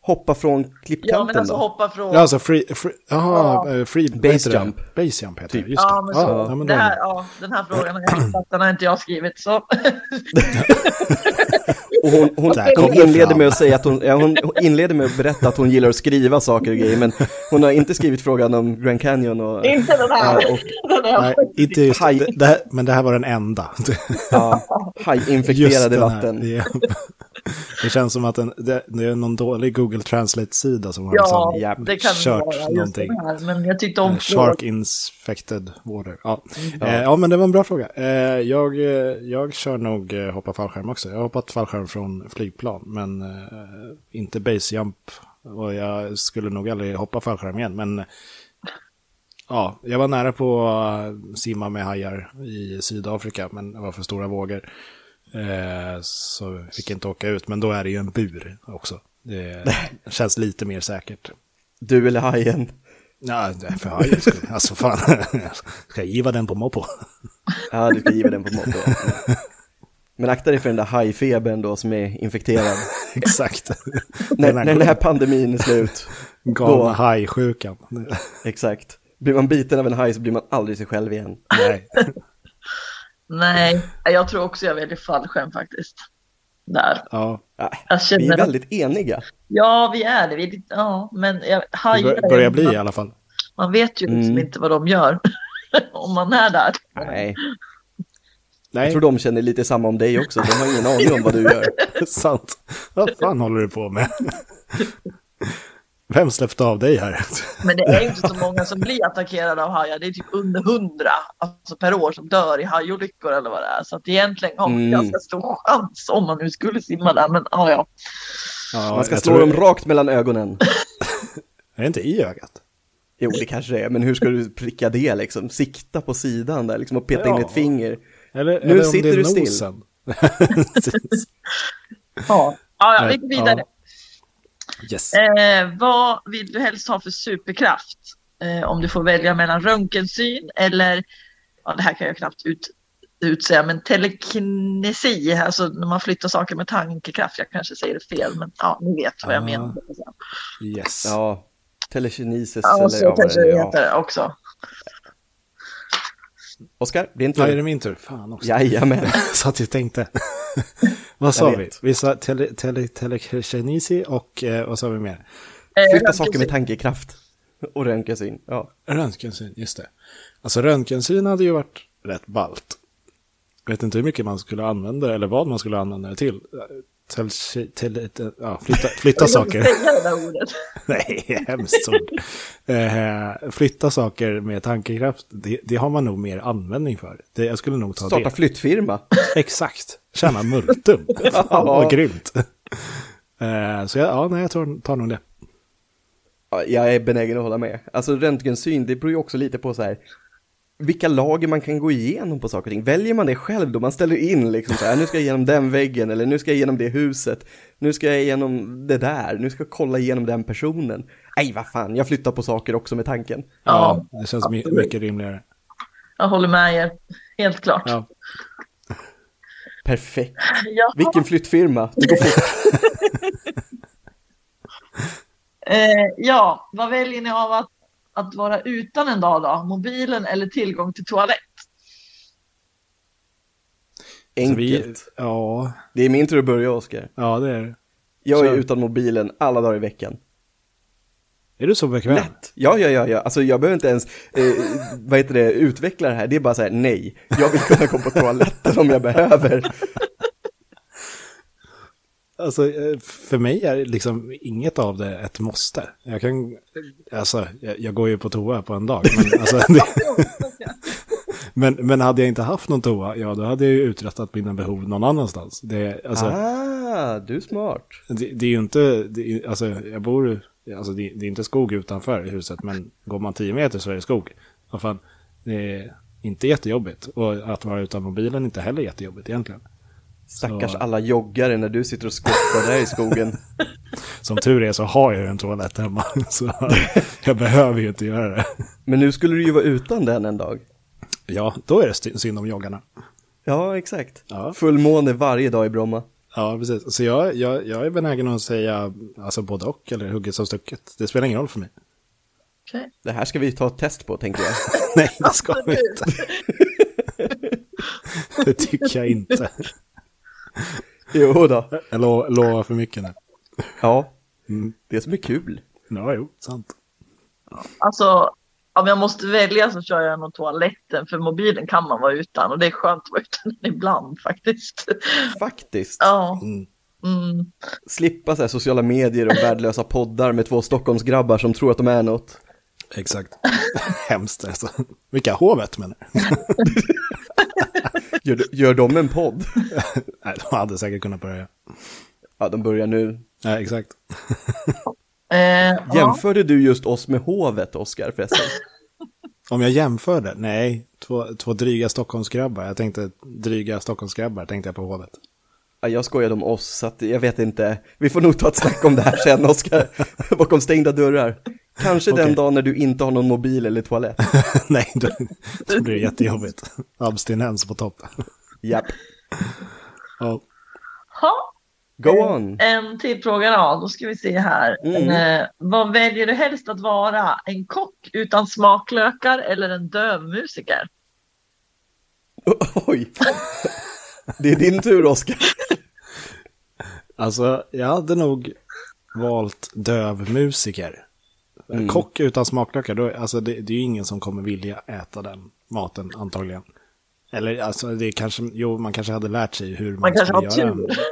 Speaker 1: hoppa från
Speaker 3: Ja,
Speaker 1: klippkanten
Speaker 3: men alltså
Speaker 1: då.
Speaker 3: hoppa från...
Speaker 2: Ja, alltså free, free, aha, eh, free vad
Speaker 1: Base
Speaker 2: heter det?
Speaker 1: jump. Typ.
Speaker 2: Base jump heter det, just
Speaker 3: Ja,
Speaker 2: det.
Speaker 3: men så.
Speaker 2: Ja, ja, men
Speaker 3: det
Speaker 2: det
Speaker 3: här, ja, den här frågan har jag fattat, den har inte jag skrivit. Så.
Speaker 1: Och hon, hon,
Speaker 2: Där kom
Speaker 1: hon
Speaker 2: det
Speaker 1: inleder
Speaker 2: fram.
Speaker 1: med att säga att hon, ja, hon hon inleder med att berätta att hon gillar att skriva saker och grejer, men hon har inte skrivit frågan om Grand Canyon och...
Speaker 3: inte den här.
Speaker 1: Ja, och-
Speaker 3: den har jag
Speaker 2: Nej,
Speaker 3: faktiskt
Speaker 2: inte just,
Speaker 1: Haj.
Speaker 2: det, det här, men det här var den enda.
Speaker 1: Ja,
Speaker 2: Just
Speaker 1: hajinfekterade
Speaker 2: den här.
Speaker 1: vatten.
Speaker 2: Ja. Det känns som att en, det, det är någon dålig Google Translate-sida som har
Speaker 3: Ja,
Speaker 2: liksom
Speaker 1: Japp.
Speaker 3: det kan
Speaker 2: kört
Speaker 3: vara just
Speaker 2: någonting.
Speaker 3: det här. Men jag tyckte om
Speaker 2: Eh, Shark infected water. Ja. Eh, ja, men det var en bra fråga. Eh, jag, eh, jag kör nog eh, hoppa fallskärm också. Jag har hoppat fallskärm från flygplan, men eh, inte base jump. Och jag skulle nog aldrig hoppa fallskärm igen, men eh, ja, jag var nära på att simma med hajar i Sydafrika, men det var för stora vågor. Eh, så jag fick inte åka ut, men då är det ju en bur också. Det känns lite mer säkert.
Speaker 1: Du eller hajen.
Speaker 2: Ja, det är för hajens skull. Alltså fan, ska jag giva den på moppo?
Speaker 1: Ja, du ska ge den på motto. Men akta dig för den där hajfebern då som är infekterad.
Speaker 2: Exakt.
Speaker 1: när,
Speaker 2: den här
Speaker 1: när den här pandemin är slut.
Speaker 2: galna
Speaker 1: då-
Speaker 2: hajsjukan.
Speaker 1: Exakt. Blir man biten av en haj så blir man aldrig sig själv igen.
Speaker 2: Nej.
Speaker 3: Nej, jag tror också jag väljer fallskärm faktiskt. Där.
Speaker 2: Ja.
Speaker 1: Ja,
Speaker 3: Jag
Speaker 1: Äh, vi är
Speaker 3: känner
Speaker 1: väldigt eniga.
Speaker 3: Ja, vi är det. Vi är lite, ja, men jag,
Speaker 2: Det
Speaker 3: hajar,
Speaker 2: bör- börjar bli i alla fall.
Speaker 3: Man vet ju liksom
Speaker 1: Mm.
Speaker 3: inte vad de gör om man är där.
Speaker 1: Nej, jag
Speaker 2: Nej,
Speaker 1: tror de känner lite samma om dig också. De har ingen aning om vad du gör.
Speaker 2: det är sant. Vad fan håller du på med? Vem släppte av dig här?
Speaker 3: Men det är inte så många som blir attackerade av hajar. Det är typ under hundra alltså per år som dör i hajolyckor eller vad det är. Så att egentligen har man
Speaker 1: Mm.
Speaker 3: ganska stor chans om man nu skulle simma där. Men ja, ja.
Speaker 2: Ja,
Speaker 1: Man ska
Speaker 2: jag
Speaker 1: slå
Speaker 2: tror-
Speaker 1: dem rakt mellan ögonen.
Speaker 2: Är det inte i ögat?
Speaker 1: Jo, det kanske det är, men hur ska du pricka det liksom? Sikta på sidan där liksom och peta in
Speaker 2: Ja.
Speaker 1: ett finger.
Speaker 2: Eller,
Speaker 1: Nu
Speaker 2: eller om
Speaker 1: sitter
Speaker 2: det är
Speaker 1: du still.
Speaker 2: nosen. Precis.
Speaker 3: Ja, ja, ja
Speaker 2: Nej,
Speaker 3: vi går vidare.
Speaker 2: yes.
Speaker 3: Eh, vad vill du helst ha för superkraft? Eh, om du får välja mellan röntgensyn eller, ja det här kan jag knappt ut, utsäga, men telekinesi, alltså när man flyttar saker med tankekraft. Jag kanske säger det fel, men ja, ni vet vad jag
Speaker 2: Ah,
Speaker 3: menar.
Speaker 2: yes.
Speaker 1: Ja, telekinesis
Speaker 3: Ja,
Speaker 1: eller
Speaker 3: så
Speaker 1: ja, vad
Speaker 3: kanske
Speaker 1: det är.
Speaker 3: det
Speaker 1: Ja.
Speaker 3: heter också.
Speaker 1: Oskar, det är inte
Speaker 2: Ja, är
Speaker 1: du.
Speaker 2: det min tur? Fan också.
Speaker 1: Jajamän.
Speaker 2: Så att jag tänkte. vad sa
Speaker 1: Jag
Speaker 2: vi?
Speaker 1: vet.
Speaker 2: Vi sa tele, tele, telekinesi och eh, vad sa vi mer?
Speaker 3: Eh,
Speaker 1: Flytta saker med
Speaker 3: röntgensyn.
Speaker 1: tankekraft. Och röntgensyn, ja.
Speaker 2: Röntgensyn, just det. Alltså röntgensyn hade ju varit rätt ballt. Jag vet inte hur mycket man skulle använda det, eller vad man skulle använda det till. Tel, tel, tel, ja, flytta, flytta
Speaker 3: Jag
Speaker 2: saker.
Speaker 3: vill säga det där ordet.
Speaker 2: Nej, hemskt ord. Eh, flytta saker med tankekraft, det, det har man nog mer användning för. Det, jag skulle nog ta
Speaker 1: Starta
Speaker 2: det.
Speaker 1: flyttfirma.
Speaker 2: Exakt, tjäna multum. Fan vad grymt. Eh, så jag, ja, nej, jag tar, tar nog det.
Speaker 1: Ja, Jag är benägen att hålla med. Alltså röntgensyn, det beror ju också lite på så här vilka lager man kan gå igenom på saker och ting. Väljer man det själv då? Man ställer in liksom så här, nu ska jag igenom den väggen eller nu ska jag igenom det huset. Nu ska jag igenom det där, nu ska jag kolla igenom den personen. Nej, vad fan, jag flyttar på saker också med tanken.
Speaker 2: Ja,
Speaker 3: Ja,
Speaker 2: det känns my-
Speaker 3: absolut.
Speaker 2: mycket rimligare.
Speaker 3: Jag håller med er, helt klart.
Speaker 2: Ja.
Speaker 1: Perfekt.
Speaker 3: Ja.
Speaker 1: Vilken flyttfirma. Det går fort.
Speaker 3: Eh, ja, vad väljer ni av att att vara utan en dag då? Mobilen eller tillgång till toalett?
Speaker 2: Så
Speaker 1: Enkelt.
Speaker 2: vi, ja,
Speaker 1: Det är min tur att börja, Oskar.
Speaker 2: ja, det är det.
Speaker 1: Jag är
Speaker 2: Kör.
Speaker 1: utan mobilen alla dagar i veckan.
Speaker 2: Är du så bekväm?
Speaker 1: Lätt! Ja, ja, ja, ja. Alltså jag behöver inte ens, eh, vad heter det, utveckla det här. Det är bara så här, nej. Jag vill kunna gå på toaletten om jag behöver.
Speaker 2: Alltså, eh, för mig är liksom inget av det ett måste. Jag kan, alltså, jag, jag går ju på toa på en dag. Men, alltså, det, men, men hade jag inte haft någon toa, ja då hade jag ju uträttat mina behov någon annanstans. Det, alltså,
Speaker 1: Ah, du är smart.
Speaker 2: det, det är ju inte, det, är- alltså, jag bor, alltså det, det är inte skog utanför huset, men går man tio meter så är det skog. Vad fan, det är inte jättejobbigt. Och att vara utan mobilen är inte heller jättejobbigt egentligen.
Speaker 1: Stackars
Speaker 2: Så-
Speaker 1: alla joggare när du sitter och skottar där i skogen.
Speaker 2: Som tur är så har jag ju en toalett hemma, så jag behöver ju inte göra det.
Speaker 1: Men nu skulle du ju vara utan den en dag.
Speaker 2: Ja, då är det sty- synd om joggarna.
Speaker 1: Ja, exakt.
Speaker 2: Ja.
Speaker 1: Fullmåne varje dag i Bromma.
Speaker 2: Ja, precis. Så jag, jag, jag är benägen att säga alltså både och, eller hugget som stucket. Det spelar ingen roll för mig.
Speaker 3: Okej.
Speaker 1: Det här ska vi ta ett test på, tänker jag.
Speaker 2: Nej, det ska vi inte. Det tycker jag inte.
Speaker 1: jo då.
Speaker 2: Jag lo- lovar för mycket nu.
Speaker 1: Ja,
Speaker 2: Mm.
Speaker 1: det som är kul.
Speaker 2: Ja, jo, sant.
Speaker 3: Alltså, om jag måste välja så kör jag nog toaletten för mobilen kan man vara utan och det är skönt att vara utan den ibland faktiskt.
Speaker 1: Faktiskt.
Speaker 3: Ja.
Speaker 2: Mm.
Speaker 3: Mm.
Speaker 1: Slippa så här sociala medier och värdelösa poddar med två Stockholmsgrabbar som tror att de är något.
Speaker 2: Exakt. Hemskt alltså. Vilka hovet menar du?
Speaker 1: Gör, gör de en podd?
Speaker 2: Nej, de hade säkert kunnat börja.
Speaker 1: Ja, de börjar nu.
Speaker 2: Ja, exakt.
Speaker 3: Eh, ja.
Speaker 1: Jämförde du just oss med hovet, Oskar, förresten?
Speaker 2: Om jag jämförde, nej, två, två dryga Stockholmsgrabbar. Jag tänkte dryga Stockholmsgrabbar, tänkte jag på hovet.
Speaker 1: Ja, jag skojade om oss, så att jag vet inte. Vi får nog ta ett snack om det här sen, Oskar. Bakom stängda dörrar. Kanske den
Speaker 2: Okej.
Speaker 1: dagen när du inte har någon mobil eller toalett.
Speaker 2: nej, då, då blir det jättejobbigt. Abstinens på topp.
Speaker 1: Japp.
Speaker 2: Ja.
Speaker 3: Ja.
Speaker 1: Go
Speaker 3: Eh.
Speaker 1: on!
Speaker 3: En till fråga då, då ska vi se här.
Speaker 1: Mm.
Speaker 3: Eh, vad väljer du helst att vara? En kock utan smaklökar eller en dövmusiker?
Speaker 1: Oj! Det är din tur, Oskar.
Speaker 2: Alltså, jag hade nog valt dövmusiker. Eh,
Speaker 1: Mm.
Speaker 2: Kock utan smaklökar, då, alltså det, det är ju ingen som kommer vilja äta den maten antagligen. Eller alltså, det är kanske, jo, man kanske hade lärt sig hur man,
Speaker 3: Man kanske
Speaker 2: skulle
Speaker 3: har
Speaker 2: göra
Speaker 3: tur.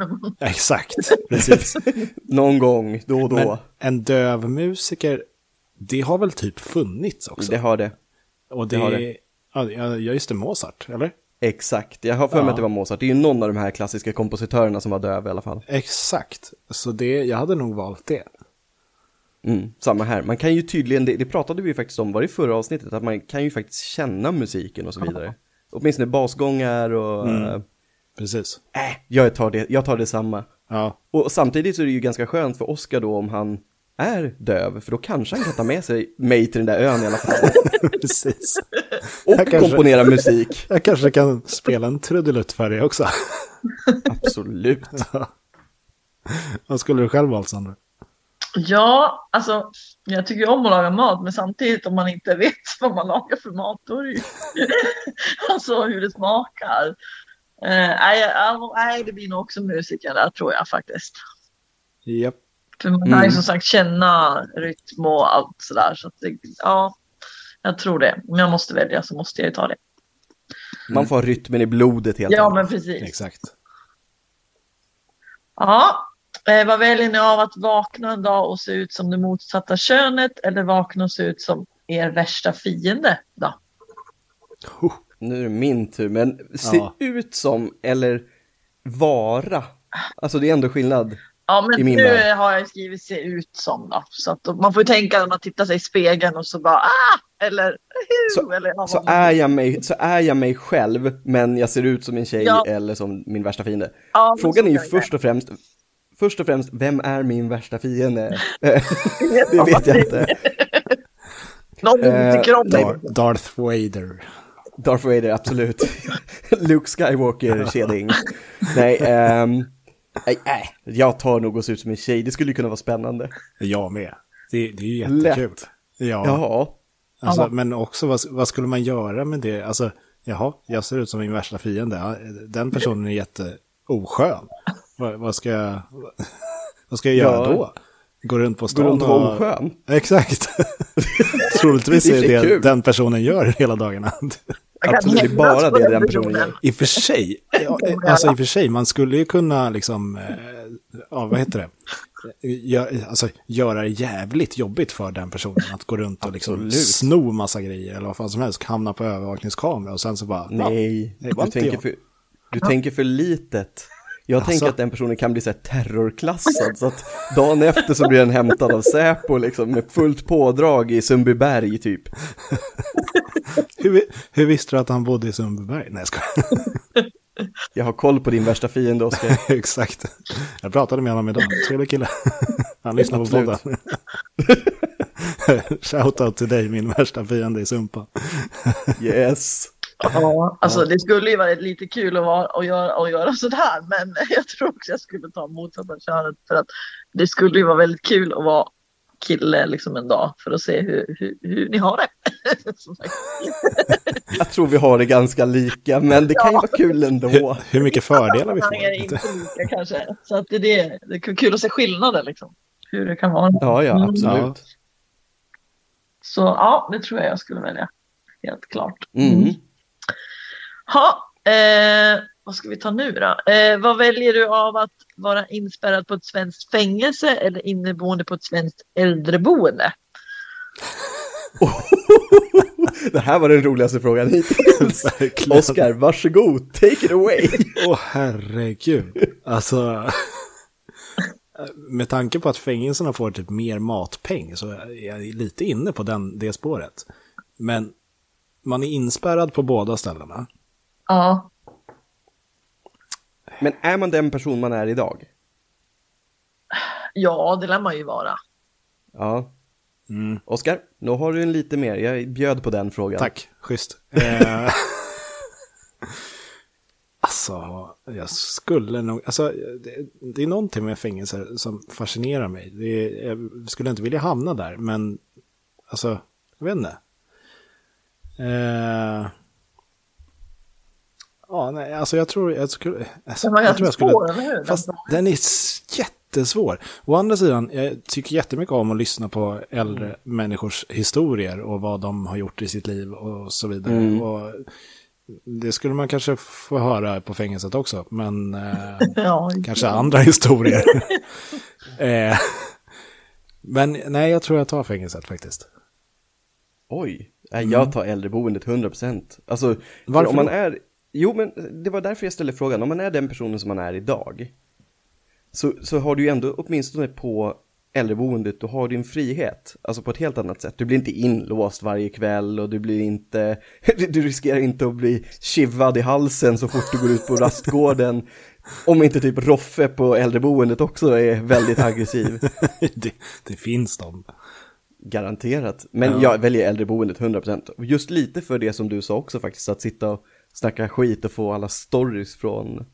Speaker 2: en- Exakt, precis.
Speaker 1: Någon gång, då och då.
Speaker 2: Men en dövmusiker, det har väl typ funnits också?
Speaker 1: Det har det.
Speaker 2: Och det,
Speaker 1: det har det.
Speaker 2: det. Ja, ja, just det, Mozart, eller?
Speaker 1: Exakt, jag har för mig
Speaker 2: Ja.
Speaker 1: att det var Mozart. Det är ju någon av de här klassiska kompositörerna som var döv i alla fall.
Speaker 2: Exakt, så det, jag hade nog valt det.
Speaker 1: Mm, samma här, man kan ju tydligen, det, det pratade vi ju faktiskt om, var det i förra avsnittet, att man kan ju faktiskt känna musiken och så vidare. Åtminstone basgångar och...
Speaker 2: Mm.
Speaker 1: eh,
Speaker 2: Precis.
Speaker 1: Äh, jag tar, det, jag tar detsamma.
Speaker 2: Ja,
Speaker 1: Och samtidigt så är det ju ganska skönt för Oscar då om han är döv, för då kanske han kan ta med sig mig till den där ön i alla fall.
Speaker 2: precis.
Speaker 1: Och
Speaker 2: kanske-
Speaker 1: komponera musik.
Speaker 2: Jag kanske kan spela en trudelutt för dig också.
Speaker 1: Absolut.
Speaker 2: Vad skulle du själv valt Sandra?
Speaker 3: Ja, alltså jag tycker ju om att laga mat men samtidigt om man inte vet vad man lagar för mat då är det ju alltså hur det smakar. Eh, Nej, ja, nej, det blir nog också musiken där tror jag faktiskt.
Speaker 2: Japp.
Speaker 3: För man kan ju som sagt känna rytm och allt sådär så att det, ja, jag tror det. Om jag måste välja så måste jag ju ta det.
Speaker 1: Man får ha rytmen i blodet helt
Speaker 3: Ja,
Speaker 1: enkelt.
Speaker 3: men precis.
Speaker 2: Exakt.
Speaker 3: Ja, eh, vad väljer ni av att vakna en dag och se ut som det motsatta könet eller vakna och se ut som er värsta fiende då?
Speaker 1: Nu är det min tur, men se
Speaker 2: Ja.
Speaker 1: ut som eller vara. Alltså det är ändå skillnad.
Speaker 3: Ja,
Speaker 1: i
Speaker 3: men
Speaker 1: min
Speaker 3: nu
Speaker 1: värld.
Speaker 3: har jag skrivit se ut som då. Så att då- man får ju tänka när man tittar sig i spegeln och så bara ah! Eller
Speaker 1: Så-
Speaker 3: så, eller ja,
Speaker 1: Så
Speaker 3: vad man-
Speaker 1: är jag mig, så är jag mig själv, men jag ser ut som en tjej
Speaker 3: Ja.
Speaker 1: eller som min värsta fiende.
Speaker 3: Ja, men
Speaker 1: Frågan
Speaker 3: så
Speaker 1: är ju
Speaker 3: kan
Speaker 1: först och främst, först och främst, vem är min värsta fiende?
Speaker 3: jag.
Speaker 1: det vet jag inte.
Speaker 3: Någon du
Speaker 1: Eh,
Speaker 3: inte tycker om dig.
Speaker 2: Dar- Darth Vader.
Speaker 1: Darth Vader, absolut. Luke Skywalker, keding. Nej, ehm, nej, nej, jag tar nog och ser ut som en tjej, det skulle ju kunna vara spännande.
Speaker 2: Jag med. Det, det är ju jättekul.
Speaker 1: Lätt.
Speaker 2: Ja,
Speaker 1: Ja,
Speaker 2: Alltså,
Speaker 3: Ja.
Speaker 2: men också vad, vad skulle man göra med det? Alltså, jaha, jag ser ut som min värsta fiende. Ja, Den personen är jätteoskön. Vad, vad, ska, jag, vad ska jag göra
Speaker 1: Ja.
Speaker 2: då? Gå runt på
Speaker 1: går
Speaker 2: stan
Speaker 1: runt och vara oskön.
Speaker 2: Exakt. Troligtvis
Speaker 1: Det är
Speaker 2: är det
Speaker 1: kul.
Speaker 2: den personen gör hela dagarna.
Speaker 3: Jag kan
Speaker 1: Absolut, det är
Speaker 3: hämnas
Speaker 1: bara
Speaker 3: på
Speaker 1: det den personen gör.
Speaker 2: I och för sig, ja, alltså i och för sig, man skulle ju kunna liksom, eh, ja vad heter det, Gör, alltså, göra det jävligt jobbigt för den personen att gå runt och liksom
Speaker 1: Absolut.
Speaker 2: sno massa grejer eller vad fan som helst, hamna på övervakningskamera och sen så bara, ja,
Speaker 1: Nej,
Speaker 2: det var
Speaker 1: du,
Speaker 2: inte
Speaker 1: tänker
Speaker 2: jag. Alltså.
Speaker 1: för, du tänker för litet. Jag tänker att den personen kan bli så här terrorklassad, så att dagen efter så blir den hämtad av Säpo liksom, med fullt pådrag i Sundbyberg typ.
Speaker 2: hur, vi- hur visste du att han bodde i Sundbyberg? Nej, jag skojar.
Speaker 1: Jag har koll på din värsta fiende, Oskar.
Speaker 2: Exakt. Jag pratade med honom idag, trevlig kille. Han lyssnar på podden.
Speaker 1: Absolut.
Speaker 2: Shoutout till dig, min värsta fiende i Sumpa.
Speaker 1: Yes.
Speaker 3: Ja, alltså det skulle ju vara lite kul att, vara, att, göra, att göra sådär, men jag tror också jag skulle ta motsatta könet för att det skulle ju vara väldigt kul att vara kille liksom en dag för att se hur, hur, hur ni har det. Som sagt.
Speaker 1: Jag tror vi har det ganska lika, men det kan ju vara kul ändå.
Speaker 2: Hur mycket fördelar vi
Speaker 3: Sammanhang är
Speaker 2: får.
Speaker 3: inte lika kanske, så att det, är det, det är kul att se skillnader liksom, hur det kan vara.
Speaker 1: Ja,
Speaker 2: Mm.
Speaker 1: ja,
Speaker 2: Ja.
Speaker 1: absolut.
Speaker 3: Så ja, det tror jag jag skulle välja, helt klart.
Speaker 1: Mm.
Speaker 3: Ha, eh, vad ska vi ta nu då? Eh, vad väljer du av att vara inspärrad på ett svenskt fängelse eller inneboende på ett svenskt äldreboende?
Speaker 1: Det här var den roligaste frågan hittills.
Speaker 2: Verkligen.
Speaker 1: Oskar, varsågod, take it away.
Speaker 2: Åh herregud. Alltså. Med tanke på att fängelserna får typ mer matpeng så är jag lite inne på den, det spåret. Men man är inspärrad på båda ställena.
Speaker 3: Ja,
Speaker 1: Men är man den person man är idag?
Speaker 3: ja det lär man ju vara.
Speaker 1: Ja. Oskar, nu har du en lite mer. Jag bjöd på den frågan.
Speaker 2: Mm. Tack, schysst. Eh, alltså, jag skulle nog... Alltså, det, det är någonting med fängelser som fascinerar mig. Det, är- jag skulle inte vilja hamna där, men... Alltså, jag vet inte. Eh, ja, nej, alltså jag tror jag skulle... Alltså,
Speaker 3: Den var
Speaker 2: jag tror
Speaker 3: ganska
Speaker 2: jag skulle...
Speaker 3: svår, eller hur? Alltså.
Speaker 2: Fast den är s- jättesvår. Å andra sidan, jag tycker jättemycket om att lyssna på äldre
Speaker 3: Mm.
Speaker 2: människors historier och vad de har gjort i sitt liv och så vidare. Och det skulle man kanske få höra på fängelset också, men eh,
Speaker 3: Ja,
Speaker 2: kanske andra historier. eh, men nej, jag tror jag tar fängelset faktiskt.
Speaker 1: Oj, Nej, jag tar äldreboendet 100%. Alltså,
Speaker 2: Mm. Varför
Speaker 1: Varför om man
Speaker 2: då?
Speaker 1: är... Jo, men det var därför jag ställde frågan. Om man är den personen som man är idag, så, så har du ju ändå, åtminstone på äldreboendet, du har din frihet. Alltså på ett helt annat sätt. Du blir inte inlåst varje kväll och du blir inte... Du riskerar inte att bli kivad i halsen så fort du går ut på rastgården. Om inte typ Roffe på äldreboendet också är väldigt aggressiv.
Speaker 2: det, det finns de.
Speaker 1: Garanterat. Men
Speaker 2: Ja.
Speaker 1: jag väljer äldreboendet 100%. Och Just lite för det som du sa också faktiskt, att sitta och snacka skit och få alla stories från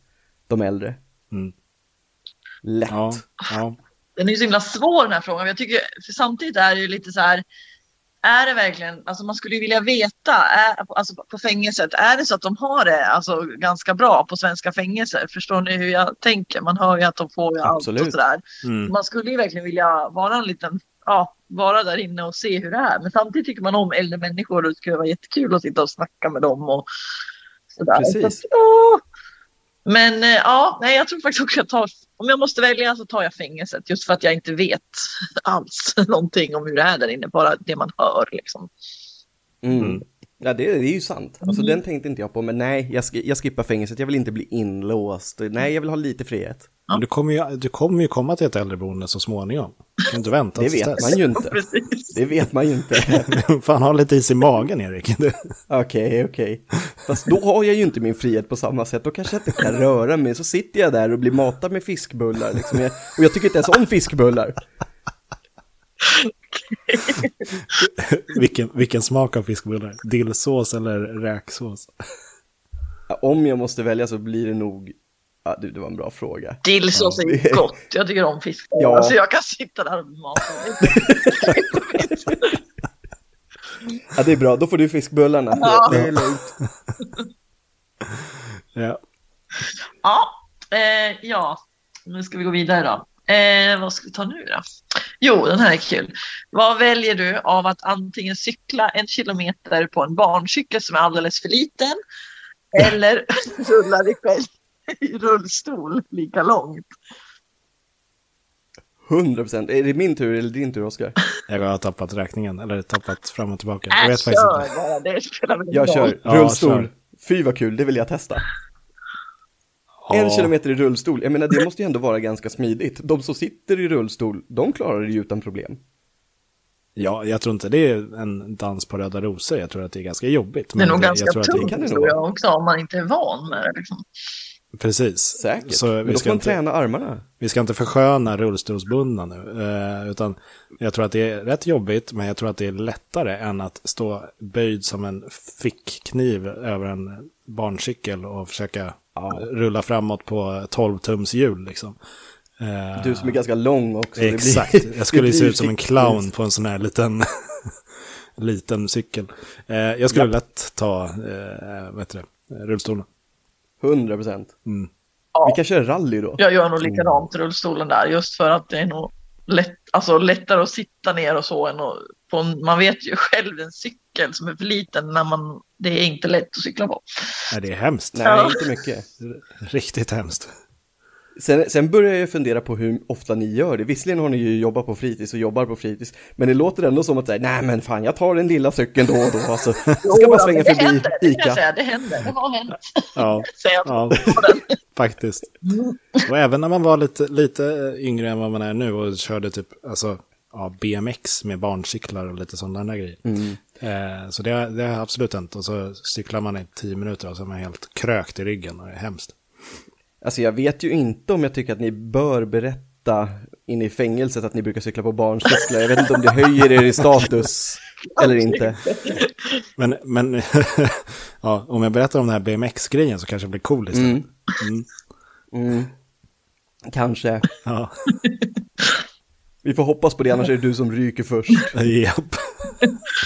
Speaker 1: de äldre.
Speaker 2: Mm.
Speaker 1: Lätt.
Speaker 2: Ja, ja.
Speaker 3: den är ju så himla svår den här frågan. Jag tycker, för samtidigt är det ju lite så här, är det verkligen, alltså man skulle ju vilja veta, är, alltså på fängelset, är det så att de har det alltså, ganska bra på svenska fängelser? Förstår ni hur jag tänker? Man hör ju att de får ju allt och
Speaker 1: Absolut.
Speaker 3: sådär.
Speaker 2: Mm.
Speaker 3: Man skulle ju verkligen vilja vara en liten, ja, vara där inne och se hur det är. Men samtidigt tycker man om äldre människor och det skulle vara jättekul att sitta och snacka med dem och sådär.
Speaker 1: Precis.
Speaker 3: Så att, ja. Men eh, ja, nej, jag tror faktiskt också jag tar, om jag måste välja så tar jag fängelset just för att jag inte vet alls någonting om hur det är där inne, bara det man hör liksom.
Speaker 1: Mm.
Speaker 2: Mm.
Speaker 1: Ja, det, det är ju sant. Alltså
Speaker 3: Mm.
Speaker 1: den tänkte inte jag på, men nej, jag, sk- jag skippar fängelset, jag vill inte bli inlåst. Nej, jag vill ha lite frihet.
Speaker 2: Men Du, kommer ju, du kommer ju komma till ett äldreboende så småningom. Du kan inte vänta
Speaker 1: Det
Speaker 2: tills
Speaker 1: vet
Speaker 2: dess.
Speaker 1: man ju inte.
Speaker 3: Precis.
Speaker 1: Det vet man ju inte.
Speaker 2: Fan, ha lite is i magen, Erik. Du-
Speaker 1: Okej, okej. Fast då har jag ju inte min frihet på samma sätt. Då kanske jag inte kan röra mig. Så sitter jag där och blir matad med fiskbullar. Liksom. Jag, och jag tycker inte ens om fiskbullar.
Speaker 2: vilken, vilken smak av fiskbullar? Dillsås eller räksås?
Speaker 1: Ja, Om jag måste välja så blir det nog... Ja, du, det var en bra fråga.
Speaker 3: Dillsås är ju gott, jag tycker om fisk.
Speaker 1: Ja.
Speaker 3: Alltså jag kan sitta där och mata mig.
Speaker 1: Ja, det är bra, då får du fiskbullarna.
Speaker 3: Ja.
Speaker 1: Det, det är lugnt.
Speaker 2: Ja.
Speaker 3: Ja, eh, ja. nu ska vi gå vidare då. Eh, vad ska vi ta nu då? Jo, den här är kul. Vad väljer du av att antingen cykla en kilometer på en barncykel som är alldeles för liten eller rulla dig själv i rullstol lika långt?
Speaker 1: 100%. Är det min tur eller din tur, Oskar?
Speaker 2: Jag har tappat räkningen, eller tappat fram och tillbaka. Jag
Speaker 3: Äh,
Speaker 2: vet faktiskt
Speaker 3: kör
Speaker 2: inte.
Speaker 3: bara, det spelar väl ingen
Speaker 1: Jag
Speaker 3: roll.
Speaker 1: kör
Speaker 2: Ja,
Speaker 1: rullstol.
Speaker 2: kör.
Speaker 1: Fy vad kul, det vill jag testa.
Speaker 2: Ja.
Speaker 1: En kilometer i rullstol, jag menar det måste ju ändå vara ganska smidigt. De som sitter i rullstol, de klarar det ju utan problem.
Speaker 2: Ja, jag tror inte det är en dans på röda rosor. Jag tror att det är ganska jobbigt.
Speaker 3: Det är nog
Speaker 2: jag
Speaker 3: ganska
Speaker 2: tror att det-
Speaker 1: tungt. kan
Speaker 3: tungt
Speaker 1: det nog
Speaker 3: tror
Speaker 1: vara.
Speaker 3: jag också om man inte är van med det. Liksom.
Speaker 2: Precis.
Speaker 1: Säkert.
Speaker 2: Så
Speaker 1: Men
Speaker 2: vi
Speaker 1: då
Speaker 2: ska
Speaker 1: får man
Speaker 2: inte-
Speaker 1: träna armarna.
Speaker 2: Vi ska inte försköna rullstolsbundna nu, eh, utan jag tror att det är rätt jobbigt, men jag tror att det är lättare än att stå böjd som en fickkniv över en barncykel och försöka
Speaker 1: Ja.
Speaker 2: rulla framåt på 12-tums hjul. Liksom. Eh,
Speaker 1: Du som är ganska lång också. det blir-
Speaker 2: Exakt,
Speaker 1: det
Speaker 2: jag skulle ju
Speaker 1: blir
Speaker 2: se
Speaker 1: ju
Speaker 2: ut som en
Speaker 1: riktigt-
Speaker 2: clown på en sån här liten, liten cykel. Eh, jag skulle lätt ta, eh, vad heter det, rullstolen. Mm.
Speaker 1: 100%. Vi
Speaker 3: Ja,
Speaker 1: kan köra rally då.
Speaker 3: jag gör nog likadant i rullstolen där just för att det är nog lätt, alltså, lättare att sitta ner och så. Än att, på en, man vet ju själv en cykel som är för liten när man, det är inte lätt att cykla på.
Speaker 2: Nej, det är hemskt.
Speaker 1: Nej, inte mycket.
Speaker 2: Riktigt hemskt.
Speaker 1: Sen, sen börjar jag fundera på hur ofta ni gör det. Visserligen har ni ju jobbat på fritids och jobbar på fritids, men det låter ändå som att säga, nej men fan, jag tar den lilla cykeln då och då, alltså. Jag ska bara
Speaker 3: Jo,
Speaker 1: svänga
Speaker 3: det
Speaker 1: förbi
Speaker 3: händer, Det, kan jag
Speaker 1: Ica.
Speaker 3: säga, det händer, det har hänt.
Speaker 2: Ja.
Speaker 3: Säger jag.
Speaker 2: Ja, faktiskt. Och även när man var lite, lite eh, yngre än vad man är nu och körde typ alltså, ja, BMX med barncyklar och lite sådana där grejer. Eh, så det, har- det har absolut hänt. Och så cyklar man i tio minuter och så är man helt krökt i ryggen och det är hemskt.
Speaker 1: Alltså jag vet ju inte om jag tycker att ni bör berätta inne i fängelset att ni brukar cykla på barncyklar. Jag vet inte om det höjer er i status eller inte.
Speaker 2: Men, men ja, om jag berättar om den här BMX-grejen så kanske det blir cool istället.
Speaker 1: Mm. Kanske.
Speaker 2: Ja,
Speaker 1: Vi får hoppas på det, annars är det du som ryker först.
Speaker 2: japp.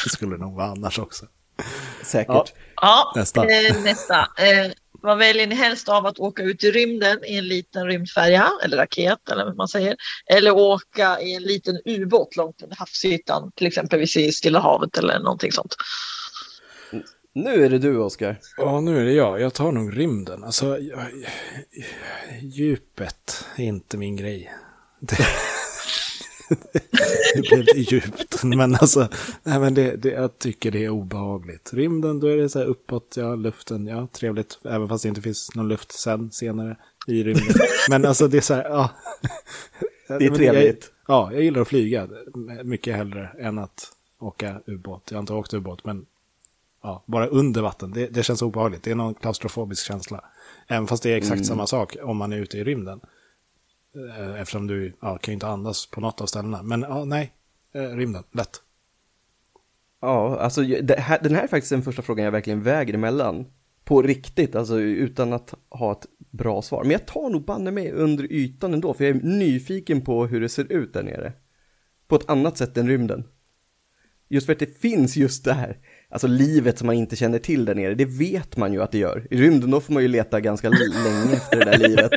Speaker 2: Det skulle nog vara annars också. Ja.
Speaker 1: Säkert.
Speaker 3: Ja,
Speaker 2: Nästa.
Speaker 3: Eh, nästa. Eh, vad väljer ni helst av att åka ut i rymden i en liten rymdfärja eller raket eller vad man säger? Eller åka i en liten ubåt långt under havsytan, till exempel vid Stilla havet eller någonting sånt.
Speaker 1: Nu är det du, Oskar.
Speaker 2: Ja, nu är det jag. Jag tar nog rymden. Alltså, jag, djupet är inte min grej. Det, det blev lite djupt, men alltså, nej, men det, det, jag tycker det är obehagligt. Rymden, då är det så här uppåt, ja, luften, ja, trevligt, även fast det inte finns någon luft sen, senare i rymden. Men alltså, det är så här, ja.
Speaker 1: Det är trevligt.
Speaker 2: Jag, ja, jag gillar att flyga mycket hellre än att åka ubåt. Jag har inte åkt ubåt, men ja, bara under vatten. Det, det känns obehagligt. Det är någon klaustrofobisk känsla. Även fast det är
Speaker 1: Mm.
Speaker 2: exakt samma sak om man är ute i rymden. Eh, Eftersom du ja, kan ju inte andas på något av ställena. Men ja, nej, Eh, rymden, lätt.
Speaker 1: Ja, alltså jag- det här, den här är faktiskt den första frågan jag verkligen väger emellan. På riktigt, alltså utan att ha ett bra svar. Men jag tar nog banne mig under ytan ändå, för jag är nyfiken på hur det ser ut där nere. På ett annat sätt än rymden. Just för att det finns just det här, alltså livet som man inte känner till där nere, det vet man ju att det gör. I rymden då får man ju leta ganska länge efter det där livet.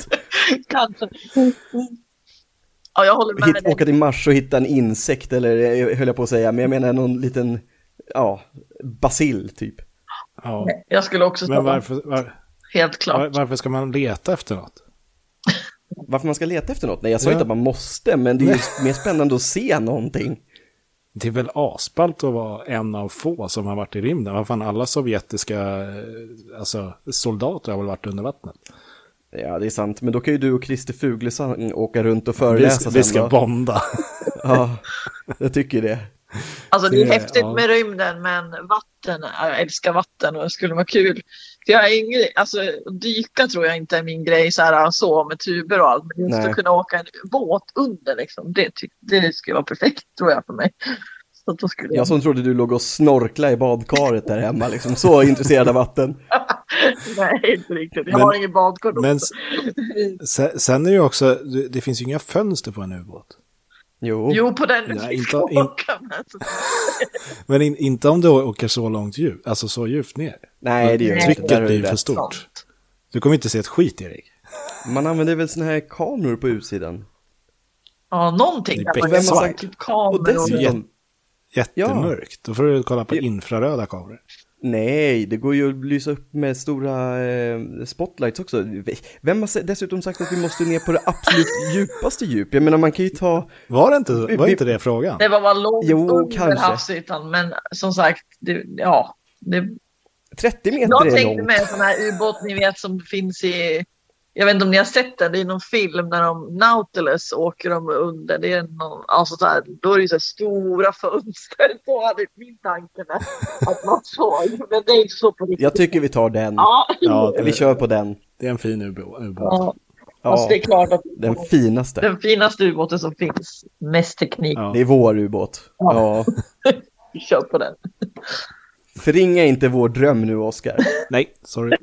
Speaker 3: Kanske. Ja, jag håller med
Speaker 1: Hitt,
Speaker 3: dig.
Speaker 1: åka till Mars och hitta en insekt, eller eh, höll jag på att säga, men jag menar någon liten, ja, basil typ.
Speaker 2: Ja.
Speaker 3: Jag skulle också ta
Speaker 2: Men
Speaker 3: den,
Speaker 2: varför, var,
Speaker 3: helt
Speaker 2: var,
Speaker 3: klart.
Speaker 2: varför ska man leta efter något?
Speaker 1: Varför man ska leta efter något? Nej, jag sa
Speaker 2: Ja.
Speaker 1: inte att man måste, men det är ju mer spännande att se någonting.
Speaker 2: Det är väl asballt att vara en av få som har varit i rymden. Vad fan, alla sovjetiska eh, alltså, soldater har väl varit under vattnet.
Speaker 1: Ja, det är sant, men då kan ju du och Christer Fuglesang åka runt och
Speaker 2: Vi,
Speaker 1: föreläsa
Speaker 2: vi
Speaker 1: sen
Speaker 2: ska
Speaker 1: då.
Speaker 2: bonda.
Speaker 1: Ja, jag tycker det.
Speaker 3: Alltså det är
Speaker 2: Det-
Speaker 3: häftigt
Speaker 2: ja.
Speaker 3: med rymden men vatten, jag älskar vatten och det skulle vara kul. För jag är ingen, alltså dyka tror jag inte är min grej så här så med tuber och allt. Men just
Speaker 1: Nej.
Speaker 3: att kunna åka en båt under liksom, det, ty- det skulle vara perfekt tror jag för mig. Så att då skulle jag...
Speaker 1: Jag som trodde du låg och snorkla i badkaret där hemma, liksom så intresserad av vatten.
Speaker 3: Nej, inte riktigt. Jag
Speaker 2: Men-
Speaker 3: har ingen badkar.
Speaker 2: Men s- se- sen är ju också, det, det finns ju inga fönster på en ubåt.
Speaker 1: Jo.
Speaker 3: Jo, på den du
Speaker 2: Ja,
Speaker 3: fick
Speaker 2: inte-
Speaker 3: fråga. men alltså,
Speaker 2: Men in, inte om du åker så långt djupt, alltså så djupt ner.
Speaker 1: Nej, det gör jag inte.
Speaker 2: Trycket
Speaker 1: Där har
Speaker 2: är
Speaker 1: du
Speaker 2: ju för
Speaker 1: rätt.
Speaker 2: stort.
Speaker 3: sånt.
Speaker 2: Du kommer inte se ett skit, Erik.
Speaker 1: Man använder väl såna här kameror på utsidan?
Speaker 3: Ja, någonting.
Speaker 2: Det är
Speaker 3: där man kan
Speaker 1: becksvart.
Speaker 3: ha typ
Speaker 1: Och
Speaker 3: kameror.
Speaker 1: dessutom...
Speaker 2: Jätte- Jättemörkt. Då får du kolla på
Speaker 1: Ja.
Speaker 2: infraröda kameror.
Speaker 1: Nej, det går ju att lysa upp med stora eh, spotlights också. Vem har se- dessutom sagt att vi måste ner på det absolut djupaste djup? Jag menar, man kan ju ta...
Speaker 2: Var det inte, var
Speaker 1: Vi-
Speaker 2: inte det frågan?
Speaker 3: Det var bara långt
Speaker 1: Jo,
Speaker 3: under
Speaker 1: kanske.
Speaker 3: havsytan, men som sagt, det, ja. Det,
Speaker 1: 30 meter
Speaker 3: jag
Speaker 1: är
Speaker 3: tänkte
Speaker 1: långt.
Speaker 3: med en sån här ubåt ni vet som finns i, jag vet inte om ni har sett den, det är någon film när de, Nautilus åker de under, det är någon, alltså så här, då är det ju så här stora fönster, då hade min tanke med att man såg, men det är inte så på riktigt.
Speaker 1: Jag tycker vi tar den.
Speaker 3: Ja,
Speaker 2: Ja,
Speaker 1: Vi
Speaker 2: det,
Speaker 1: kör på den.
Speaker 2: det är en fin ubå- ubåt.
Speaker 3: ja. Alltså,
Speaker 1: Ja,
Speaker 3: det är klart att
Speaker 1: den finaste.
Speaker 3: den finaste ubåten som finns, mest teknik,
Speaker 2: Ja.
Speaker 1: Det är vår ubåt. Ja.
Speaker 3: vi kör på den.
Speaker 1: Förringa inte vår dröm nu, Oskar.
Speaker 2: Nej, sorry.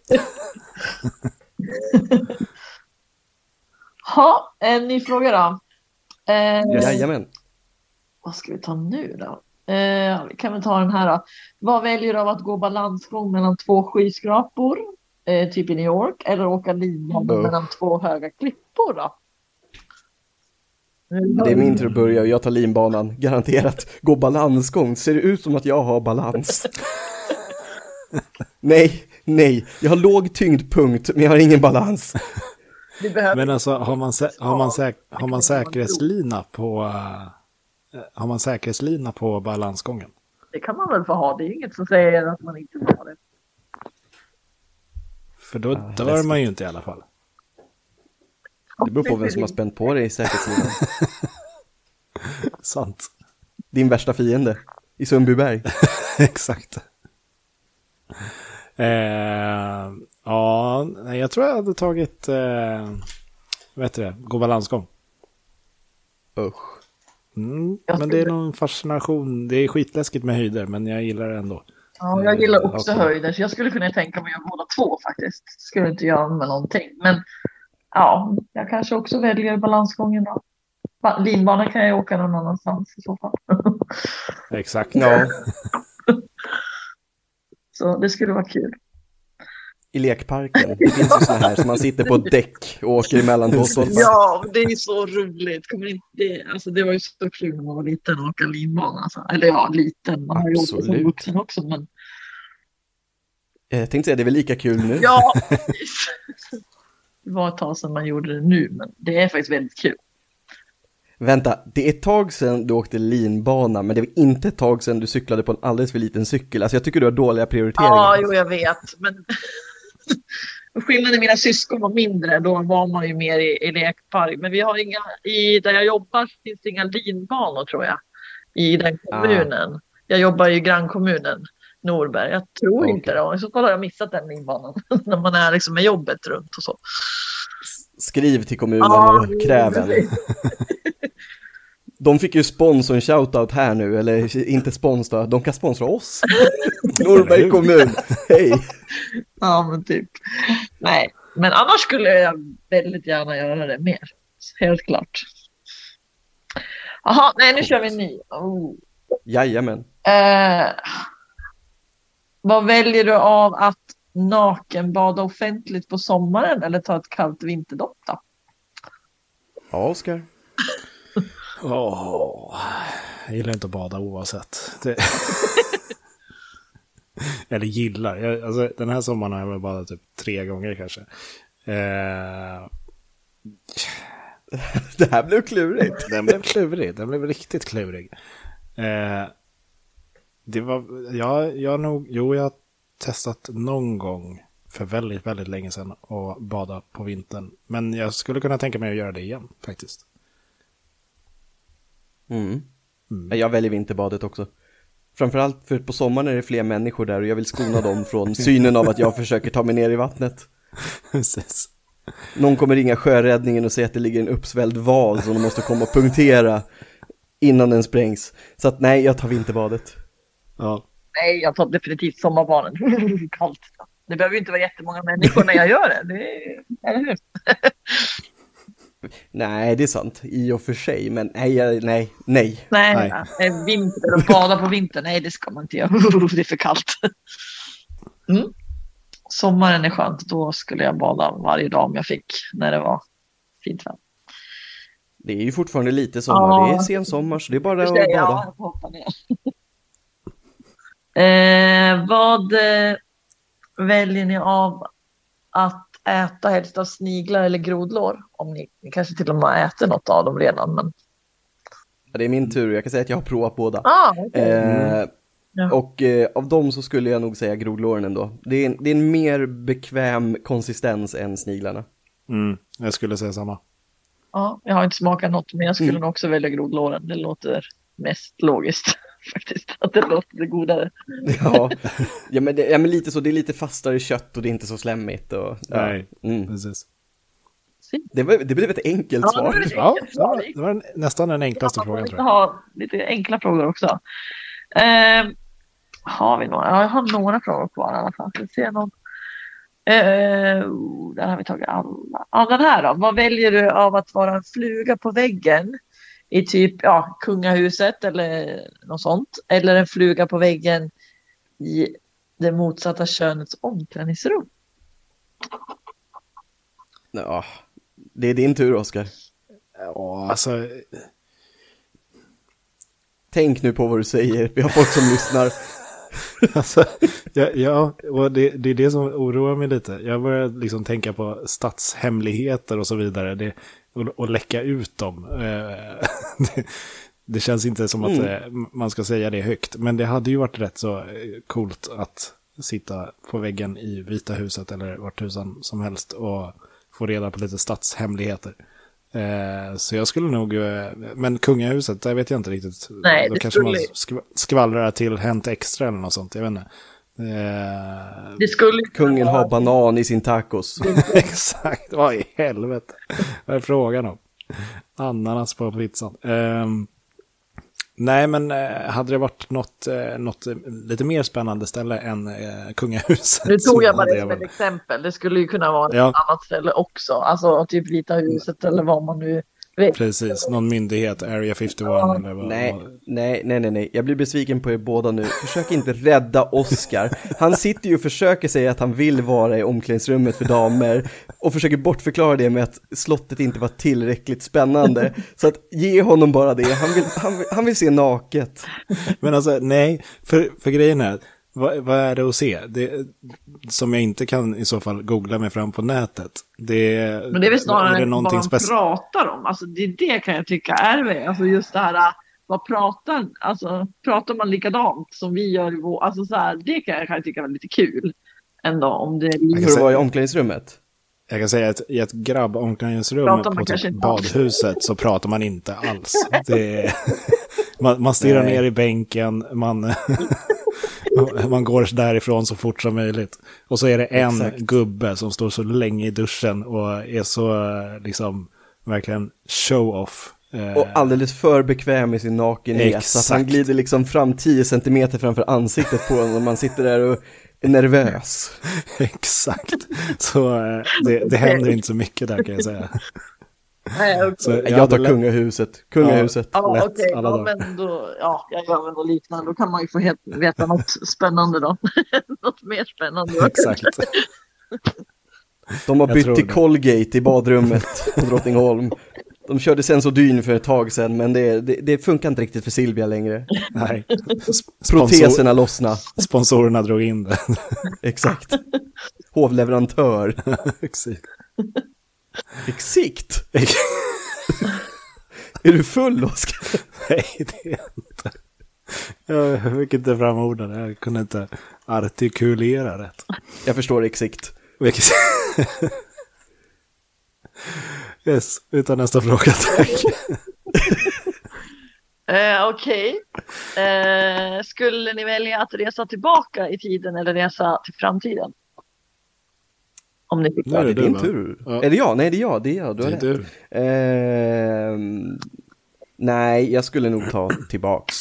Speaker 3: Ha, en ny fråga då. Eh,
Speaker 1: Jajamän.
Speaker 3: Vad ska vi ta nu då? Eh, vi kan väl ta den här då. Vad väljer du av att gå balansgång mellan två skyskrapor, eh, typ i New York, eller åka linbana
Speaker 1: Uff.
Speaker 3: mellan två höga klippor då?
Speaker 1: Det är min tur att börja och jag tar linbanan. Garanterat. Gå balansgång. Ser det ut som att jag har balans? nej, nej. Jag har låg tyngdpunkt, men jag har ingen balans.
Speaker 3: Du behöver
Speaker 2: Men alltså, har man, sä- har man, säk- har man säkerhetslina på... eh, har man säkerhetslina på balansgången?
Speaker 3: det kan man väl få ha. Det är ju inget som säger att man inte får ha det.
Speaker 2: För då dör
Speaker 1: läskigt.
Speaker 2: man ju inte i alla fall.
Speaker 1: Det beror på vem som har spänt på dig i säkerhetssidan.
Speaker 2: Sant.
Speaker 1: Din värsta fiende i Sundbyberg.
Speaker 2: Exakt. Eh, ja, nej, jag tror jag hade tagit... Eh, vad heter det? Gå balansgång.
Speaker 1: Usch.
Speaker 2: Mm,
Speaker 3: Jag
Speaker 2: men
Speaker 3: tror
Speaker 2: det är
Speaker 3: det.
Speaker 2: någon fascination. Det är skitläskigt med höjder, men jag gillar det ändå.
Speaker 3: Ja, jag gillar också
Speaker 1: Okej.
Speaker 3: höjder, så jag skulle kunna tänka mig att göra båda två faktiskt. Skulle inte göra med någonting. Men ja, jag kanske också väljer balansgången då. Ba- Linbanan kan jag åka någon annanstans i så fall.
Speaker 2: Exakt.
Speaker 1: Ja,
Speaker 3: Så det skulle vara kul.
Speaker 1: i lekparken. Det finns ju såna här som man sitter på ett däck och åker emellan två stolpar.
Speaker 3: Ja, det är så roligt. Kommer inte, det, alltså, det var ju så kul när man var liten och åka linbana. Alltså. Eller ja, liten. Man har ju åkt det som
Speaker 1: Absolut.
Speaker 3: vuxen också. Men...
Speaker 1: Jag Eh, tänkte säga, det är väl lika kul nu.
Speaker 3: Ja, precis. Det var ett tag sedan man gjorde det nu, men det är faktiskt väldigt kul.
Speaker 1: Vänta, det är ett tag sedan du åkte linbana, men det var inte ett tag sedan du cyklade på en alldeles för liten cykel. Alltså jag tycker du har dåliga prioriteringar.
Speaker 3: Ja, jo, jag vet. Men skillnaden mina syskon var mindre. Då var man ju mer i, i lekpark. Men vi har inga, i, där jag jobbar finns det inga linbanor tror jag. I den
Speaker 1: Ah.
Speaker 3: kommunen. Jag jobbar ju i grannkommunen Norberg. Jag tror
Speaker 1: Ah, Okej.
Speaker 3: inte det. I så fall har jag missat den linbanan. När man är liksom med jobbet runt och så.
Speaker 1: Skriv till kommunen
Speaker 3: Ja,
Speaker 1: och kräv en.
Speaker 3: precis.
Speaker 1: De fick ju spons och en shoutout här nu, eller inte spons då, de kan sponsra oss. Norberg kommun, hej!
Speaker 3: Ja, men typ. Nej, men annars skulle jag väldigt gärna göra det mer. Helt klart. Jaha, nej nu kör vi en ny. Oh.
Speaker 1: Jajamän.
Speaker 3: Eh, vad väljer du av att nakenbada offentligt på sommaren eller ta ett kallt vinterdopp då?
Speaker 1: Ja, Oskar.
Speaker 2: Åh, jag gillar inte att bada oavsett. Det... Eller gillar. Jag, alltså, den här sommaren har jag väl badat typ tre gånger kanske. Eh,
Speaker 1: Det här blev klurigt.
Speaker 2: den blev klurig. Den blev riktigt klurig. Eh, det var, jag, jag har nog, jo, jag har testat någon gång för väldigt, väldigt länge sedan att bada på vintern. Men jag skulle kunna tänka mig att göra det igen faktiskt.
Speaker 1: Mm. Nej, Jag väljer vinterbadet också. Framförallt för på sommaren är det fler människor där och jag vill skona dem från synen av att jag försöker ta mig ner i vattnet.
Speaker 2: Precis.
Speaker 1: Någon kommer ringa sjöräddningen och säga att det ligger en uppsvälld val som de måste komma och punktera innan den sprängs. Så att nej, jag tar vinterbadet.
Speaker 2: Ja.
Speaker 3: Nej, jag tar definitivt sommarbarnen. Kallt. Det behöver ju inte vara jättemånga människor när jag gör det. det är, eller hur?
Speaker 1: Nej, det är sant i och för sig, men nej, jag- nej, nej.
Speaker 3: Nej,
Speaker 2: Nej.
Speaker 3: nej. nej, vinter och bada på vintern, nej det ska man inte göra. Det är för kallt. Mm. Sommaren är skönt, då skulle jag bada varje dag om jag fick när det var fint väder.
Speaker 1: Det är ju fortfarande lite sommar,
Speaker 3: Ja.
Speaker 1: det är sen sommar så det är bara
Speaker 3: För
Speaker 1: att
Speaker 3: sig,
Speaker 1: bada.
Speaker 3: Ja, jag får hoppa ner. eh, vad eh, väljer ni av att äta helst av sniglar eller grodlår? Om ni, ni kanske till och med har ätit något av dem redan. Men...
Speaker 1: Det är min tur, jag kan säga att jag har provat båda.
Speaker 3: Ah, okej.
Speaker 1: Eh,
Speaker 3: Ja.
Speaker 1: Och eh, av dem så skulle jag nog säga grodlåren ändå. Det är, en, det är en mer bekväm konsistens än sniglarna.
Speaker 2: Mm, jag skulle säga samma.
Speaker 3: Ja, jag har inte smakat något, men jag skulle nog också välja grodlåren. Det låter mest logiskt faktiskt, att det låter godare.
Speaker 1: Ja, ja, men, det, ja men lite så, det är lite fastare kött och det är inte så slemmigt. Och, ja.
Speaker 2: Nej.
Speaker 1: Mm.
Speaker 2: Precis.
Speaker 1: Det, var, det blev ett enkelt
Speaker 3: Ja,
Speaker 1: svar.
Speaker 3: det blev-
Speaker 2: Ja, det var, det var en, nästan den enklaste
Speaker 3: Ja,
Speaker 2: frågan
Speaker 3: jag
Speaker 2: tror
Speaker 3: vill
Speaker 2: jag.
Speaker 3: ha lite enkla frågor också. Ehm, har vi några? Ja, jag har några frågor kvar i alla fall. Ska vi se någon. Eh, oh, där har vi tagit alla. Ja, den här då. Vad väljer du av att vara en fluga på väggen i typ ja, kungahuset eller något sånt? Eller en fluga på väggen i det motsatta könets omklädningsrum?
Speaker 1: Ja, det är din tur Oskar.
Speaker 2: Ja, alltså,
Speaker 1: Tänk nu på vad du säger, vi har folk som lyssnar.
Speaker 2: alltså, ja, ja och det, det är det som oroar mig lite. Jag börjar liksom tänka på statshemligheter och så vidare. Det, och, och läcka ut dem. Eh, det, det känns inte som
Speaker 3: Mm.
Speaker 2: att eh, man ska säga det högt. Men det hade ju varit rätt så eh, coolt att sitta på väggen i Vita huset eller vart tusan som helst och få reda på lite statshemligheter. Eh, så jag skulle nog, eh, men kungahuset, där vet jag inte riktigt.
Speaker 3: Nej,
Speaker 2: Då
Speaker 3: det
Speaker 2: kanske man
Speaker 3: skulle-
Speaker 2: skv- skvallrar till Hänt Extra eller något sånt, jag vet inte. Eh,
Speaker 3: Det skulle
Speaker 1: Kungen har banan i sin tacos.
Speaker 2: Exakt, vad i helvete? Vad är frågan om? Ananas på pizzan. Ehm, nej, men eh, hade det varit något, eh, något eh, lite mer spännande ställe än eh, kungahuset?
Speaker 3: Nu tog jag
Speaker 2: så
Speaker 3: bara
Speaker 2: hade
Speaker 3: det som
Speaker 2: väl-
Speaker 3: ett exempel. Det skulle ju kunna vara
Speaker 2: Ja.
Speaker 3: ett annat ställe också. Alltså typ Vita huset eller vad man nu vet.
Speaker 2: Precis, någon myndighet, Area 51 eller vad.
Speaker 1: Nej,
Speaker 2: vad-
Speaker 1: nej, nej, nej, nej, jag blir besviken på er båda nu. Försök inte rädda Oscar. Han sitter ju och försöker säga att han vill vara i omklädningsrummet för damer och försöker bortförklara det med att slottet inte var tillräckligt spännande. Så att ge honom bara det, han vill, han vill, han vill se naket.
Speaker 2: Men alltså, nej, för, för grejen är, vad, vad är det att se? Det, som jag inte kan i så fall googla mig fram på nätet. Det,
Speaker 3: Men det är väl snarare
Speaker 2: det
Speaker 3: vad
Speaker 2: någonting
Speaker 3: de
Speaker 2: speci-
Speaker 3: pratar om. Alltså det är det kan jag tycka är det. Alltså just det här vad pratar, alltså, pratar man likadant som vi gör i vår, alltså så här, det kan jag, kan jag tycka är lite kul ändå om det är
Speaker 1: För att vara i omklädningsrummet.
Speaker 2: Jag kan säga att i ett grabbomklädningsrum
Speaker 3: Pratar man
Speaker 2: på
Speaker 3: kanske
Speaker 2: typ
Speaker 3: inte alls.
Speaker 2: badhuset så pratar man inte alls. Det är, man, man stirrar
Speaker 1: Nej.
Speaker 2: ner i bänken, man, man går därifrån så fort som möjligt. Och så är det en
Speaker 1: Exakt.
Speaker 2: gubbe som står så länge i duschen och är så eh, liksom verkligen show-off. Eh,
Speaker 1: Och alldeles för bekväm i sin nakenhet, så att han
Speaker 2: Exakt.
Speaker 1: glider liksom fram 10 centimeter framför ansiktet på honom och man sitter där och är nervös.
Speaker 2: Exakt. Så eh, det, det händer inte så mycket där kan jag säga.
Speaker 3: Nej, okej.
Speaker 2: Så
Speaker 1: Jag
Speaker 2: hade
Speaker 1: tar
Speaker 2: lä-
Speaker 1: kungahuset, kungahuset.
Speaker 3: Ja,
Speaker 2: lätt
Speaker 3: okej.
Speaker 2: alla
Speaker 3: Ja,
Speaker 2: dagar.
Speaker 3: men då, ja, jag gör väl något liknande. Då kan man ju få helt, veta något spännande då. något mer spännande.
Speaker 2: Exakt.
Speaker 1: De har
Speaker 2: Jag
Speaker 1: bytt
Speaker 2: tror
Speaker 1: till
Speaker 2: det.
Speaker 1: Colgate i badrummet på Drottningholm. De körde Sensodyne för ett tag sedan, men det, det, det funkar inte riktigt för Silvia längre.
Speaker 2: Nej. Sp- Sponsor,
Speaker 1: Proteserna lossna,
Speaker 2: sponsorerna drog in det.
Speaker 1: exakt. Hovleverantör,
Speaker 2: Exakt.
Speaker 1: exakt. Är du full, Oskar?
Speaker 2: Nej, det är jag inte. Jag fick inte fram orden. Jag kunde inte artikulera rätt.
Speaker 1: Jag förstår exakt.
Speaker 2: Vilket... Yes, utan nästa fråga tack.
Speaker 3: Eh, Okej. Eh, skulle ni välja att resa tillbaka i tiden eller resa till framtiden? Om ni fick
Speaker 2: Nu är
Speaker 1: Det är
Speaker 2: det du,
Speaker 1: din
Speaker 2: va?
Speaker 1: tur.
Speaker 2: Ja.
Speaker 1: Är det jag? Nej, det är jag. Det är jag. Du har
Speaker 2: Det är
Speaker 1: rätt.
Speaker 2: du.
Speaker 1: Ehm, nej, jag skulle nog ta tillbaks.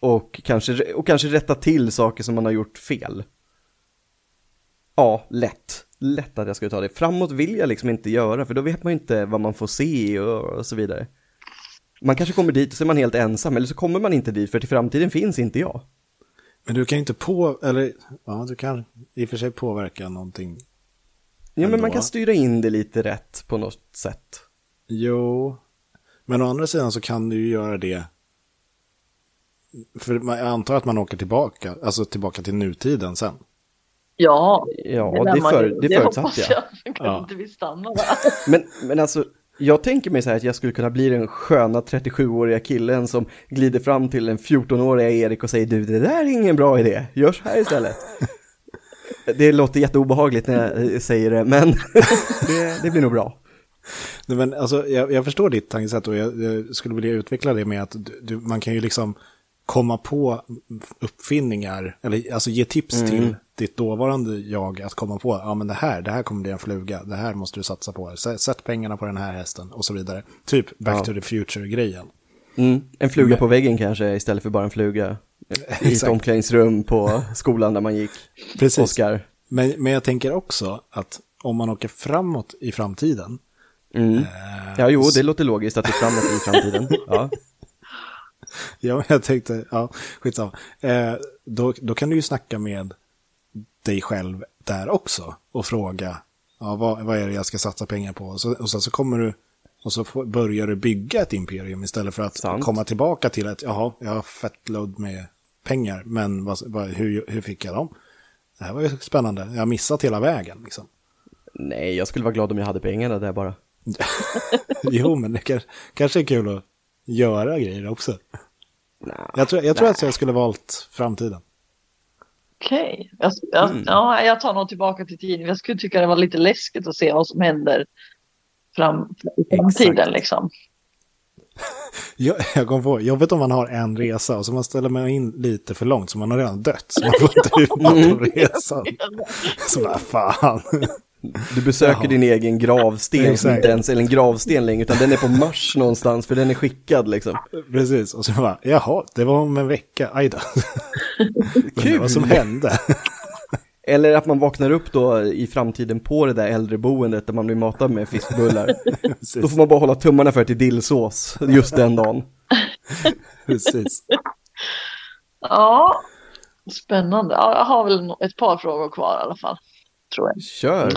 Speaker 1: Och kanske, och kanske rätta till saker som man har gjort fel. ja, lätt. Lätt att jag skulle ta det. Framåt vill jag liksom inte göra, för då vet man ju inte vad man får se och, och så vidare. Man kanske kommer dit och så är man helt ensam, eller så kommer man inte dit, för till framtiden finns inte jag.
Speaker 2: Men du kan ju inte på... Eller ja, du kan i och för sig påverka någonting.
Speaker 1: Ja, men man
Speaker 2: ändå.
Speaker 1: kan styra in det lite rätt på något sätt.
Speaker 2: Jo. Men å andra sidan så kan du ju göra det. För man- jag antar att man åker tillbaka, alltså tillbaka till nutiden sen.
Speaker 3: Ja,
Speaker 1: Ja,
Speaker 3: lär
Speaker 1: det,
Speaker 3: man
Speaker 1: för,
Speaker 3: ju-
Speaker 1: det förutsatte
Speaker 3: hoppas
Speaker 1: jag.
Speaker 3: jag. Jag kan
Speaker 2: Ja.
Speaker 3: inte vi stanna där.
Speaker 1: Men, men alltså, jag tänker mig så här att jag skulle kunna bli den sköna 37-åriga killen som glider fram till den 14-åriga Erik och säger du, det där är ingen bra idé, gör så här istället. Det låter jätteobehagligt när jag eh, säger det, men det, det blir nog bra.
Speaker 2: Nej, men alltså, jag, jag förstår ditt tankesätt och jag, jag skulle vilja utveckla det med att du, du, man kan ju liksom komma på uppfinningar, eller alltså ge tips till ditt dåvarande jag att komma på, ja men det här, det här kommer bli en fluga, det här måste du satsa på, S- sätt pengarna på den här hästen och så vidare. Typ Back
Speaker 1: Ja.
Speaker 2: to the Future-grejen.
Speaker 1: Mm, en fluga på väggen kanske istället för bara en fluga i ett
Speaker 2: Exakt.
Speaker 1: omklädningsrum på skolan där man gick.
Speaker 2: Precis.
Speaker 1: Oskar.
Speaker 2: Men, men jag tänker också att om man åker framåt i framtiden,
Speaker 1: Mm. Ja, jo, det låter logiskt att det är framåt i framtiden. Ja.
Speaker 2: ja men jag tänkte, ja skitsamma, eh, då, då kan du ju snacka med dig själv där också och fråga, ja vad, vad är det jag ska satsa pengar på? Och, så, och sen så kommer du, och så får, börjar du bygga ett imperium istället för att
Speaker 1: Sant.
Speaker 2: komma tillbaka till att, jaha, jag har fett load med pengar, men vad, vad, hur, hur fick jag dem? Det här var ju spännande, jag har missat hela vägen liksom.
Speaker 1: Nej, jag skulle vara glad om jag hade pengarna där bara.
Speaker 2: Jo, men det kan, kanske är kul att göra grejer också. Jag tror, jag tror att jag skulle valt framtiden.
Speaker 3: Okej, jag, jag,
Speaker 1: Mm.
Speaker 3: ja, jag tar nog tillbaka till tiden. Jag skulle tycka det var lite läskigt att se vad som händer fram, i framtiden.
Speaker 2: Exakt.
Speaker 3: Liksom.
Speaker 2: Jag, jag kom på, jobbet om man har en resa och så man ställer man in lite för långt så man har redan dött. Så man får inte ut något av resan. Så bara, fan.
Speaker 1: Du besöker din egen gravsten, som
Speaker 2: Exakt.
Speaker 1: inte ens är en gravsten längre, utan den är på Mars någonstans, för den är skickad liksom.
Speaker 2: Precis, och så bara, jaha, det var om en vecka, aj då. Kul. Vad som hände.
Speaker 1: Eller att man vaknar upp då i framtiden på det där äldreboendet där man blir matad med fiskbullar.
Speaker 2: Precis.
Speaker 1: Då får man bara hålla tummarna för att det är dillsås just den dagen.
Speaker 2: Precis.
Speaker 3: Ja, spännande. Ja, jag har väl no- ett par frågor kvar i alla fall. Tror jag.
Speaker 1: Kör!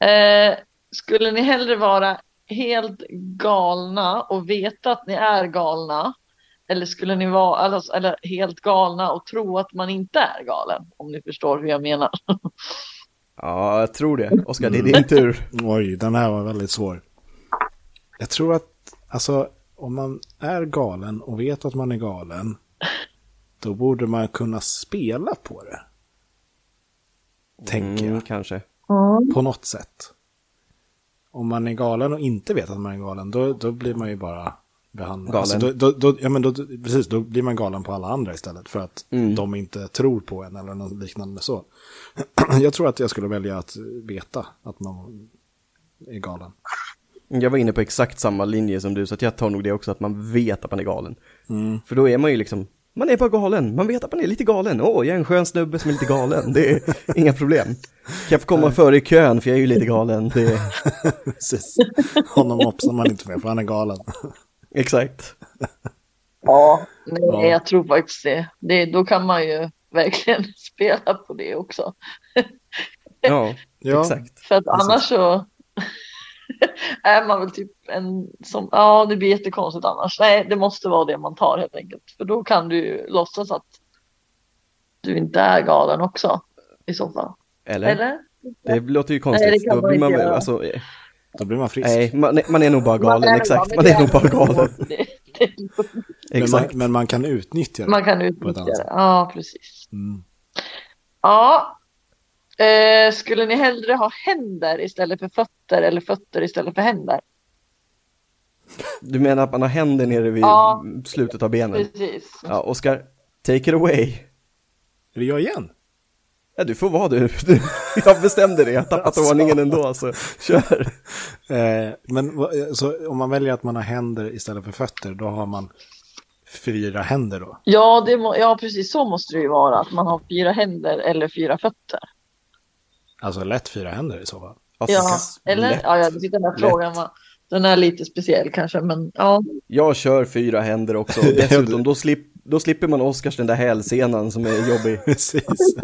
Speaker 2: Mm.
Speaker 3: Eh, skulle ni hellre vara helt galna och veta att ni är galna? Eller skulle ni vara alltså, eller helt galna och tro att man inte är galen? Om ni förstår hur jag menar.
Speaker 1: Ja, jag tror det. Oskar,
Speaker 2: Mm.
Speaker 1: det är din tur.
Speaker 2: Oj, den här var väldigt svår. Jag tror att, alltså, om man är galen och vet att man är galen, då borde man kunna spela på det. Tänker
Speaker 1: Mm,
Speaker 2: jag,
Speaker 1: kanske.
Speaker 2: på något sätt. Om man är galen och inte vet att man är galen, då, då blir man ju bara behandlad.
Speaker 1: Galen.
Speaker 2: Alltså, då, då, då, ja, men då, precis, då blir man galen på alla andra istället, för att
Speaker 1: Mm.
Speaker 2: de inte tror på en eller något liknande så. jag tror att jag skulle välja att veta att man är galen.
Speaker 1: Jag var inne på exakt samma linje som du, så att jag tar nog det också, att man vet att man är galen.
Speaker 3: Mm.
Speaker 1: För då är man ju liksom, man är bara galen, man vet att man är lite galen. Åh, jag är en skön snubbe som är lite galen, det är inga problem. Kan jag få komma före i kön, för jag är ju lite galen. Det är...
Speaker 2: Precis. Honom mopsar man inte med, för han är galen.
Speaker 1: Exakt.
Speaker 3: Ja, nej,
Speaker 2: Ja.
Speaker 3: jag tror faktiskt det. det. Då kan man ju verkligen spela på det också.
Speaker 1: Ja,
Speaker 2: Ja.
Speaker 1: exakt.
Speaker 3: För att annars så är man väl typ en som, ja det blir jättekonstigt annars. Nej, det måste vara det man tar helt enkelt. För då kan du ju låtsas att du inte är galen också i så fall.
Speaker 1: Eller?
Speaker 3: Eller?
Speaker 1: Det låter ju konstigt.
Speaker 3: Nej, det kan
Speaker 1: då
Speaker 3: man
Speaker 1: blir man
Speaker 3: inte
Speaker 1: väl,
Speaker 3: göra.
Speaker 1: alltså, eh,
Speaker 2: Då blir man frisk.
Speaker 1: nej, man, nej, man är nog bara galen,
Speaker 3: Man är
Speaker 1: exakt.
Speaker 3: galen,
Speaker 1: Man
Speaker 3: det
Speaker 1: är nog bara galen,
Speaker 3: Det, det, är lugnt.
Speaker 2: men, man,
Speaker 1: exakt.
Speaker 2: men man kan utnyttja det.
Speaker 3: man kan
Speaker 2: På ett
Speaker 3: utnyttja
Speaker 2: annat
Speaker 3: det.
Speaker 2: sätt.
Speaker 3: Ja, precis.
Speaker 2: Mm.
Speaker 3: Ja. Eh, skulle ni hellre ha händer istället för fötter eller fötter istället för händer?
Speaker 1: Du menar att man har händer nere vid
Speaker 3: Ja.
Speaker 1: slutet av benen?
Speaker 3: Precis.
Speaker 1: Ja, Oskar, take it away.
Speaker 2: Är det jag igen?
Speaker 1: Ja, du får vara du. Du- Jag bestämde det, jag har tappat
Speaker 2: Alltså.
Speaker 1: ordningen ändå, så kör.
Speaker 2: Eh, men vad- så om man väljer att man har händer istället för fötter, då har man fyra händer då?
Speaker 3: Ja, det må, ja, precis så måste det ju vara. Att man har fyra händer eller fyra fötter.
Speaker 2: Alltså lätt fyra händer i så fall.
Speaker 1: Alltså,
Speaker 3: Ja, eller?
Speaker 1: lätt.
Speaker 3: Ja, jag tyckte den här frågan var... Den är lite speciell kanske, men ja.
Speaker 1: Jag kör fyra händer också. Och Dessutom, då, slip, då slipper man Oscars den där hälsenan som är jobbig.
Speaker 2: Precis.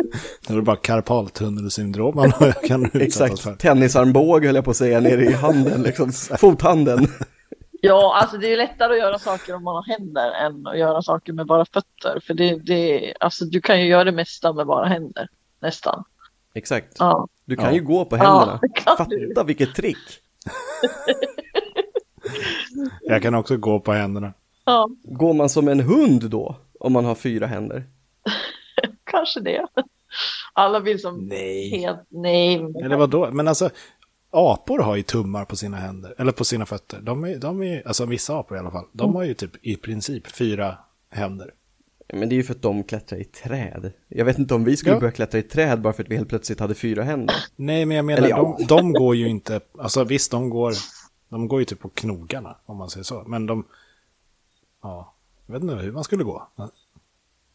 Speaker 2: Det är bara karpaltunnelsyndrom man kan utsättas för.
Speaker 1: Exakt, tennisarmbåge höll jag på att säga, nere i handen, liksom. fothanden.
Speaker 3: Ja, alltså det är lättare att göra saker om man har händer än att göra saker med bara fötter. För det, det, alltså du kan ju göra det mesta med bara händer, nästan.
Speaker 1: Exakt,
Speaker 3: Ja,
Speaker 1: du kan
Speaker 2: Ja.
Speaker 1: ju gå på händerna.
Speaker 3: Ja, det kan du.
Speaker 1: Fatta vilket trick.
Speaker 2: Jag kan också gå på händerna.
Speaker 3: ja
Speaker 1: Går man som en hund då, om man har fyra händer?
Speaker 3: kanske det. Alla vill som
Speaker 2: Nej.
Speaker 3: helt... Nej, men-
Speaker 2: Eller vad då? Men alltså, apor har ju tummar på sina händer, eller på sina fötter. De är, de är alltså vissa apor i alla fall, de har ju typ i princip fyra händer.
Speaker 1: Men det är ju för att de klättrar i träd. Jag vet inte om vi skulle
Speaker 2: Ja.
Speaker 1: börja klättra i träd bara för att vi helt plötsligt hade fyra händer.
Speaker 2: Nej, men jag menar,
Speaker 1: Eller ja.
Speaker 2: de, de går ju inte, alltså visst, de går, de går ju typ på knogarna, om man säger så. Men de, ja, jag vet inte hur man skulle gå.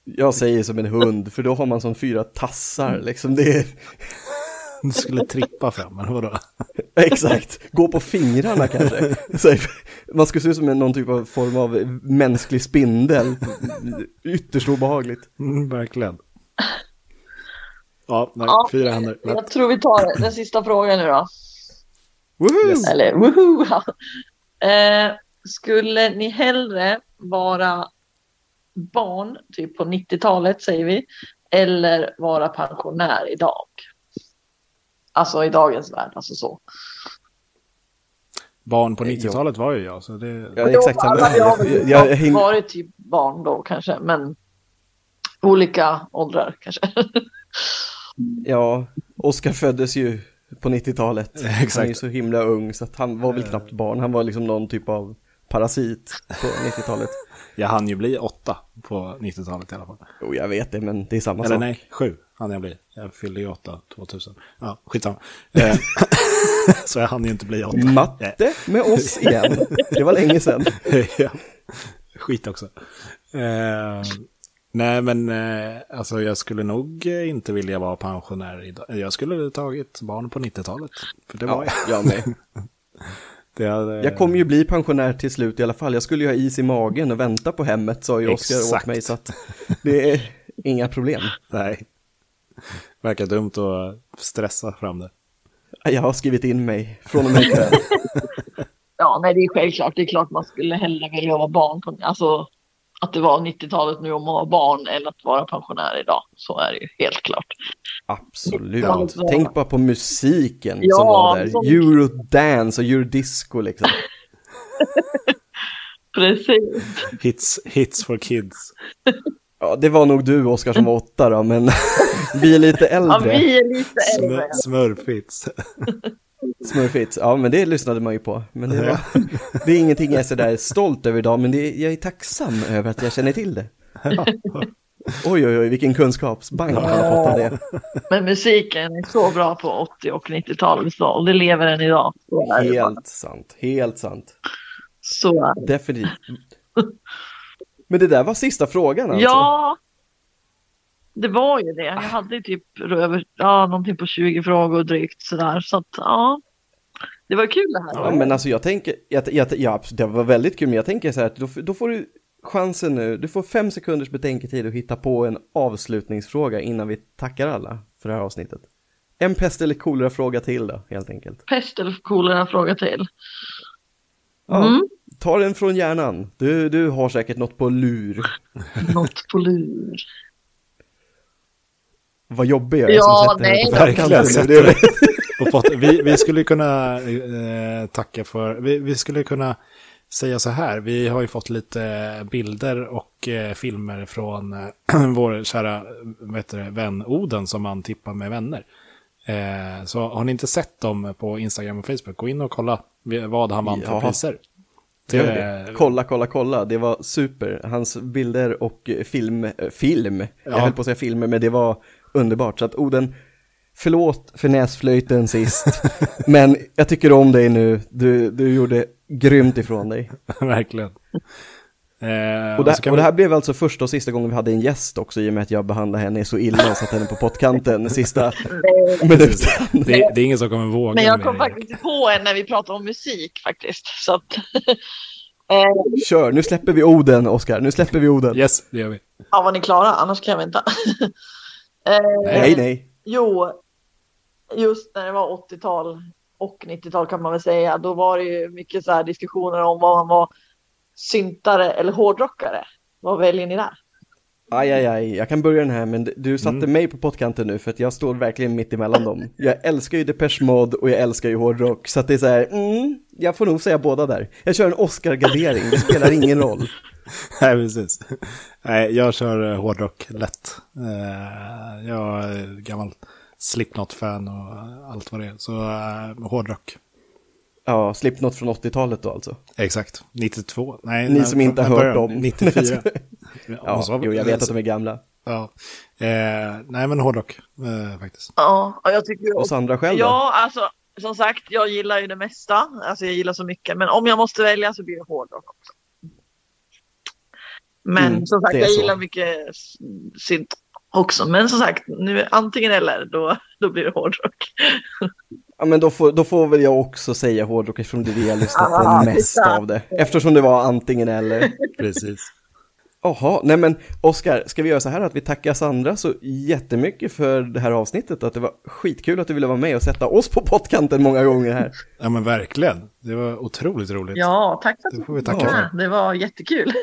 Speaker 1: Jag säger som en hund, för då har man som fyra tassar
Speaker 2: Mm.
Speaker 1: liksom. Det är...
Speaker 2: Du skulle trippa fram, eller vadå?
Speaker 1: Exakt, gå på fingrarna kanske. Så, man skulle se ut som en- någon typ av form av mänsklig spindel. Ytterst obehagligt.
Speaker 2: Mm, verkligen. Ja, nej,
Speaker 3: Ja,
Speaker 2: fyra händer.
Speaker 3: jag tror vi tar den sista frågan nu då.
Speaker 1: Woohoo!
Speaker 2: Yes.
Speaker 3: Eller woho! eh, skulle ni hellre vara barn, typ på 90-talet säger vi, eller vara pensionär idag? Alltså i dagens värld, alltså så.
Speaker 2: Barn på 90-talet var ju jag, så det...
Speaker 1: Ja, det är exakt samma.
Speaker 3: Då hade jag
Speaker 1: alltså, Jag, jag, häng...
Speaker 3: varit typ barn då kanske, men olika åldrar kanske.
Speaker 1: ja, Oscar föddes ju på 90-talet. Han är ju
Speaker 2: Exakt.
Speaker 1: så himla ung så att han var väl knappt barn. Han var liksom någon typ av parasit på 90-talet.
Speaker 2: Jag hann ju bli åtta på 90-talet i alla fall.
Speaker 1: Jo, jag vet det, men det är samma
Speaker 2: Eller
Speaker 1: sak.
Speaker 2: nej, sju hann jag bli. Jag fyllde ju åtta 2000. Ja, skitsamma. Eh, så jag hann ju inte bli åtta.
Speaker 1: Matte med oss igen. Det var länge sedan.
Speaker 2: Eh, ja. Skit också. Eh, nej, men eh, alltså jag skulle nog eh, inte vilja vara pensionär idag. Jag skulle ha tagit barn på 90-talet. För det var
Speaker 1: Ja, jag med.
Speaker 2: jag. Det hade,
Speaker 1: Jag kommer ju bli pensionär till slut i alla fall. Jag skulle ju ha is i magen och vänta på hemmet, sa ju Oskar åt
Speaker 2: Exakt.
Speaker 1: mig. Så att det är inga problem.
Speaker 2: Nej. Verkar dumt att stressa fram det.
Speaker 1: Jag har skrivit in mig från och med ikväll.
Speaker 3: Ja, nej, det är självklart. Det är klart man skulle hellre vilja vara barn. På, alltså att det var 90-talet nu om man var barn eller att vara pensionär idag. Så är det ju helt klart.
Speaker 1: Absolut.
Speaker 3: Ja.
Speaker 1: Tänk bara på musiken
Speaker 3: Ja,
Speaker 1: som var där.
Speaker 3: som-
Speaker 1: Eurodance och eurodisco liksom.
Speaker 3: Precis.
Speaker 2: Hits, hits for kids.
Speaker 1: Ja, det var nog du Oskar som var åtta då, men vi är lite
Speaker 3: Ja,
Speaker 1: äldre.
Speaker 3: vi är lite äldre.
Speaker 2: Smör, smurfhits.
Speaker 1: Smurfits. Ja, men det lyssnade man ju på. Men det, var... det är ingenting jag är sådär stolt över idag, men det är... jag är tacksam över att jag känner till det. Oj, oj, oj, vilken kunskapsbank han har fått av det.
Speaker 3: Men musiken är så bra på 80 och 90-talet. så- Och det lever än idag. Så är det. bara.
Speaker 1: Helt sant, helt sant.
Speaker 3: Så är det.
Speaker 1: Definitivt. Men det där var sista frågan alltså?
Speaker 3: Ja, det var ju det. Jag hade ju typ över, ja, någonting på 20 frågor drygt sådär. Så att ja, det var kul det här.
Speaker 1: Ja, men alltså jag tänker, jag, jag, ja, absolut, det var väldigt kul, men jag tänker så här att då, då får du chansen nu, du får fem sekunders betänketid att hitta på en avslutningsfråga innan vi tackar alla för det här avsnittet. En pest eller kolera-fråga till då, helt enkelt.
Speaker 3: Pest eller kolera fråga till.
Speaker 1: Ja,
Speaker 3: Mm.
Speaker 1: Ta den från hjärnan, du, du har säkert något på lur.
Speaker 3: Något på lur.
Speaker 1: Vad jobbig jag är
Speaker 3: Ja,
Speaker 1: som sätter
Speaker 3: nej.
Speaker 1: henne på
Speaker 2: Verkligen.
Speaker 1: fyrkanten.
Speaker 2: Sätter
Speaker 1: nu. Det är-
Speaker 2: det på potten. vi, vi skulle kunna eh, tacka för, vi, vi skulle kunna säga så här, vi har ju fått lite bilder och eh, filmer från eh, vår kära vad heter det, vän Oden som man tippar med vänner. Eh, så har ni inte sett dem på Instagram och Facebook, gå in och kolla vad han vann
Speaker 1: Ja.
Speaker 2: för priser.
Speaker 1: Gör det. Eh, Kolla, kolla, kolla. Det var super. Hans bilder och eh, film, eh, film, jag
Speaker 2: Ja.
Speaker 1: höll på att säga filmer, men det var underbart. Så att Oden, förlåt för näsflöjten sist, men jag tycker om dig nu. Du, du gjorde grymt ifrån dig.
Speaker 2: Verkligen. Eh, Eh,
Speaker 1: Och det,
Speaker 2: så
Speaker 1: och
Speaker 2: kan
Speaker 1: det
Speaker 2: vi-
Speaker 1: här blev alltså första och sista gången vi hade en gäst också i och med att jag behandlade henne så illa och satte henne på pottkanten sista minuten.
Speaker 2: det, det är ingen som kommer våga.
Speaker 3: Men jag
Speaker 2: mer.
Speaker 3: kom faktiskt på en när vi pratade om musik faktiskt. Så att, eh,
Speaker 1: Kör, nu släpper vi orden Oskar, nu släpper vi orden.
Speaker 2: Yes, det gör vi.
Speaker 3: ja, var ni klara? Annars kan jag vänta. eh,
Speaker 1: Nej, nej.
Speaker 3: Jo, just när det var 80-tal och 90-tal kan man väl säga, då var det ju mycket så här diskussioner om vad man var syntare eller hårdrockare. Vad väljer ni där?
Speaker 1: Aj, aj, aj, jag kan börja den här men d- du satte mig på pottkanten nu för att jag står verkligen mitt emellan dem. Jag älskar ju Depeche Mode och jag älskar ju hårdrock så att det är så här, mm, jag får nog säga båda där. Jag kör en Oscar-gardering, det spelar ingen roll.
Speaker 2: Nej, precis. Nej, jag kör eh, hårdrock lätt. Eh, Jag är gammal Slipknot-fan och allt vad det är. Så eh, hårdrock.
Speaker 1: Ja, Slipknot från 80-talet då alltså.
Speaker 2: Exakt. 92. Nej,
Speaker 1: Ni
Speaker 2: när-
Speaker 1: som inte
Speaker 2: när
Speaker 1: har hört
Speaker 2: började-
Speaker 1: dem.
Speaker 2: 94.
Speaker 1: Ja, jo, jag vet att de är gamla.
Speaker 2: Ja. Eh, nej, men hårdrock eh, faktiskt.
Speaker 3: Ja, och jag tycker ju
Speaker 1: Och Sandra själv då?
Speaker 3: Ja, alltså som sagt, jag gillar ju det mesta. Alltså jag gillar så mycket. Men om jag måste välja så blir det hårdrock också. Men
Speaker 1: Mm,
Speaker 3: som sagt,
Speaker 1: det är
Speaker 3: jag
Speaker 1: så.
Speaker 3: gillar mycket s- synt också. Men som sagt, nu antingen eller, då, då blir det hårdrock.
Speaker 1: Ja men då får, då får väl jag också säga hårdrock eftersom det är det jag lyssnat
Speaker 3: Ah,
Speaker 1: på mest
Speaker 3: titta.
Speaker 1: av det. Eftersom det var antingen eller.
Speaker 2: Precis.
Speaker 1: Jaha, nej men Oskar, ska vi göra så här att vi tackar Sandra så jättemycket för det här avsnittet, att det var skitkul att du ville vara med och sätta oss på pottkanten många gånger här.
Speaker 2: Ja, men verkligen. Det var otroligt roligt.
Speaker 3: Ja, tack för att
Speaker 2: Det
Speaker 3: du
Speaker 2: får vi
Speaker 3: var
Speaker 2: tacka
Speaker 3: med.
Speaker 2: för.
Speaker 3: Det var jättekul.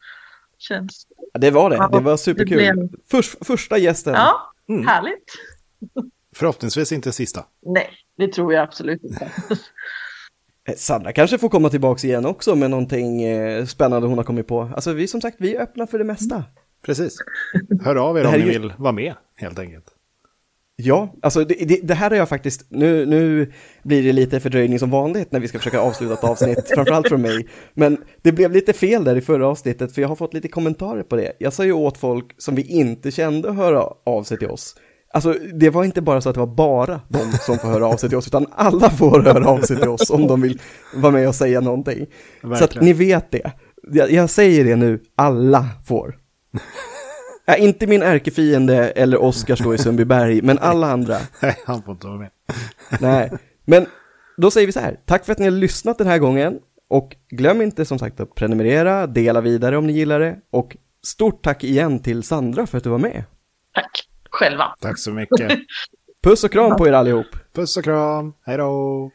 Speaker 3: Känns-
Speaker 1: Ja, det var det,
Speaker 3: Ja,
Speaker 1: det var
Speaker 3: det
Speaker 1: superkul.
Speaker 3: blev-
Speaker 1: Förs, första gästen.
Speaker 3: Ja,
Speaker 2: Mm.
Speaker 3: härligt.
Speaker 2: Förhoppningsvis inte sista.
Speaker 3: Nej, det tror jag absolut inte.
Speaker 1: Eh, Sandra kanske får komma tillbaka igen också med någonting eh, spännande hon har kommit på. Alltså vi som sagt, vi är öppna för det mesta.
Speaker 2: Precis. Hör av er
Speaker 1: Det
Speaker 2: om
Speaker 1: här
Speaker 2: ni
Speaker 1: är ju-
Speaker 2: vill vara med, helt enkelt.
Speaker 1: Ja, alltså det, det, det här har jag faktiskt, nu, nu blir det lite fördröjning som vanligt när vi ska försöka avsluta ett avsnitt, framförallt från mig. Men det blev lite fel där i förra avsnittet för jag har fått lite kommentarer på det. Jag sa ju åt folk som vi inte kände höra av sig till oss. Alltså det var inte bara så att det var bara de som får höra av sig till oss, utan alla får höra av sig till oss om de vill vara med och säga någonting. Så att
Speaker 2: Verkligen.
Speaker 1: ni vet det. Jag, jag säger det nu, alla får. Ja, inte min ärkefiende eller Oskar står i Sundbyberg, men alla andra.
Speaker 2: Nej, han får inte vara med.
Speaker 1: Nej, men då säger vi så här. Tack för att ni har lyssnat den här gången. Och glöm inte som sagt att prenumerera, dela vidare om ni gillar det. Och stort tack igen till Sandra för att du var med.
Speaker 3: Tack, själva.
Speaker 2: Tack så mycket.
Speaker 1: Puss och kram på er allihop.
Speaker 2: Puss och kram. Hej då.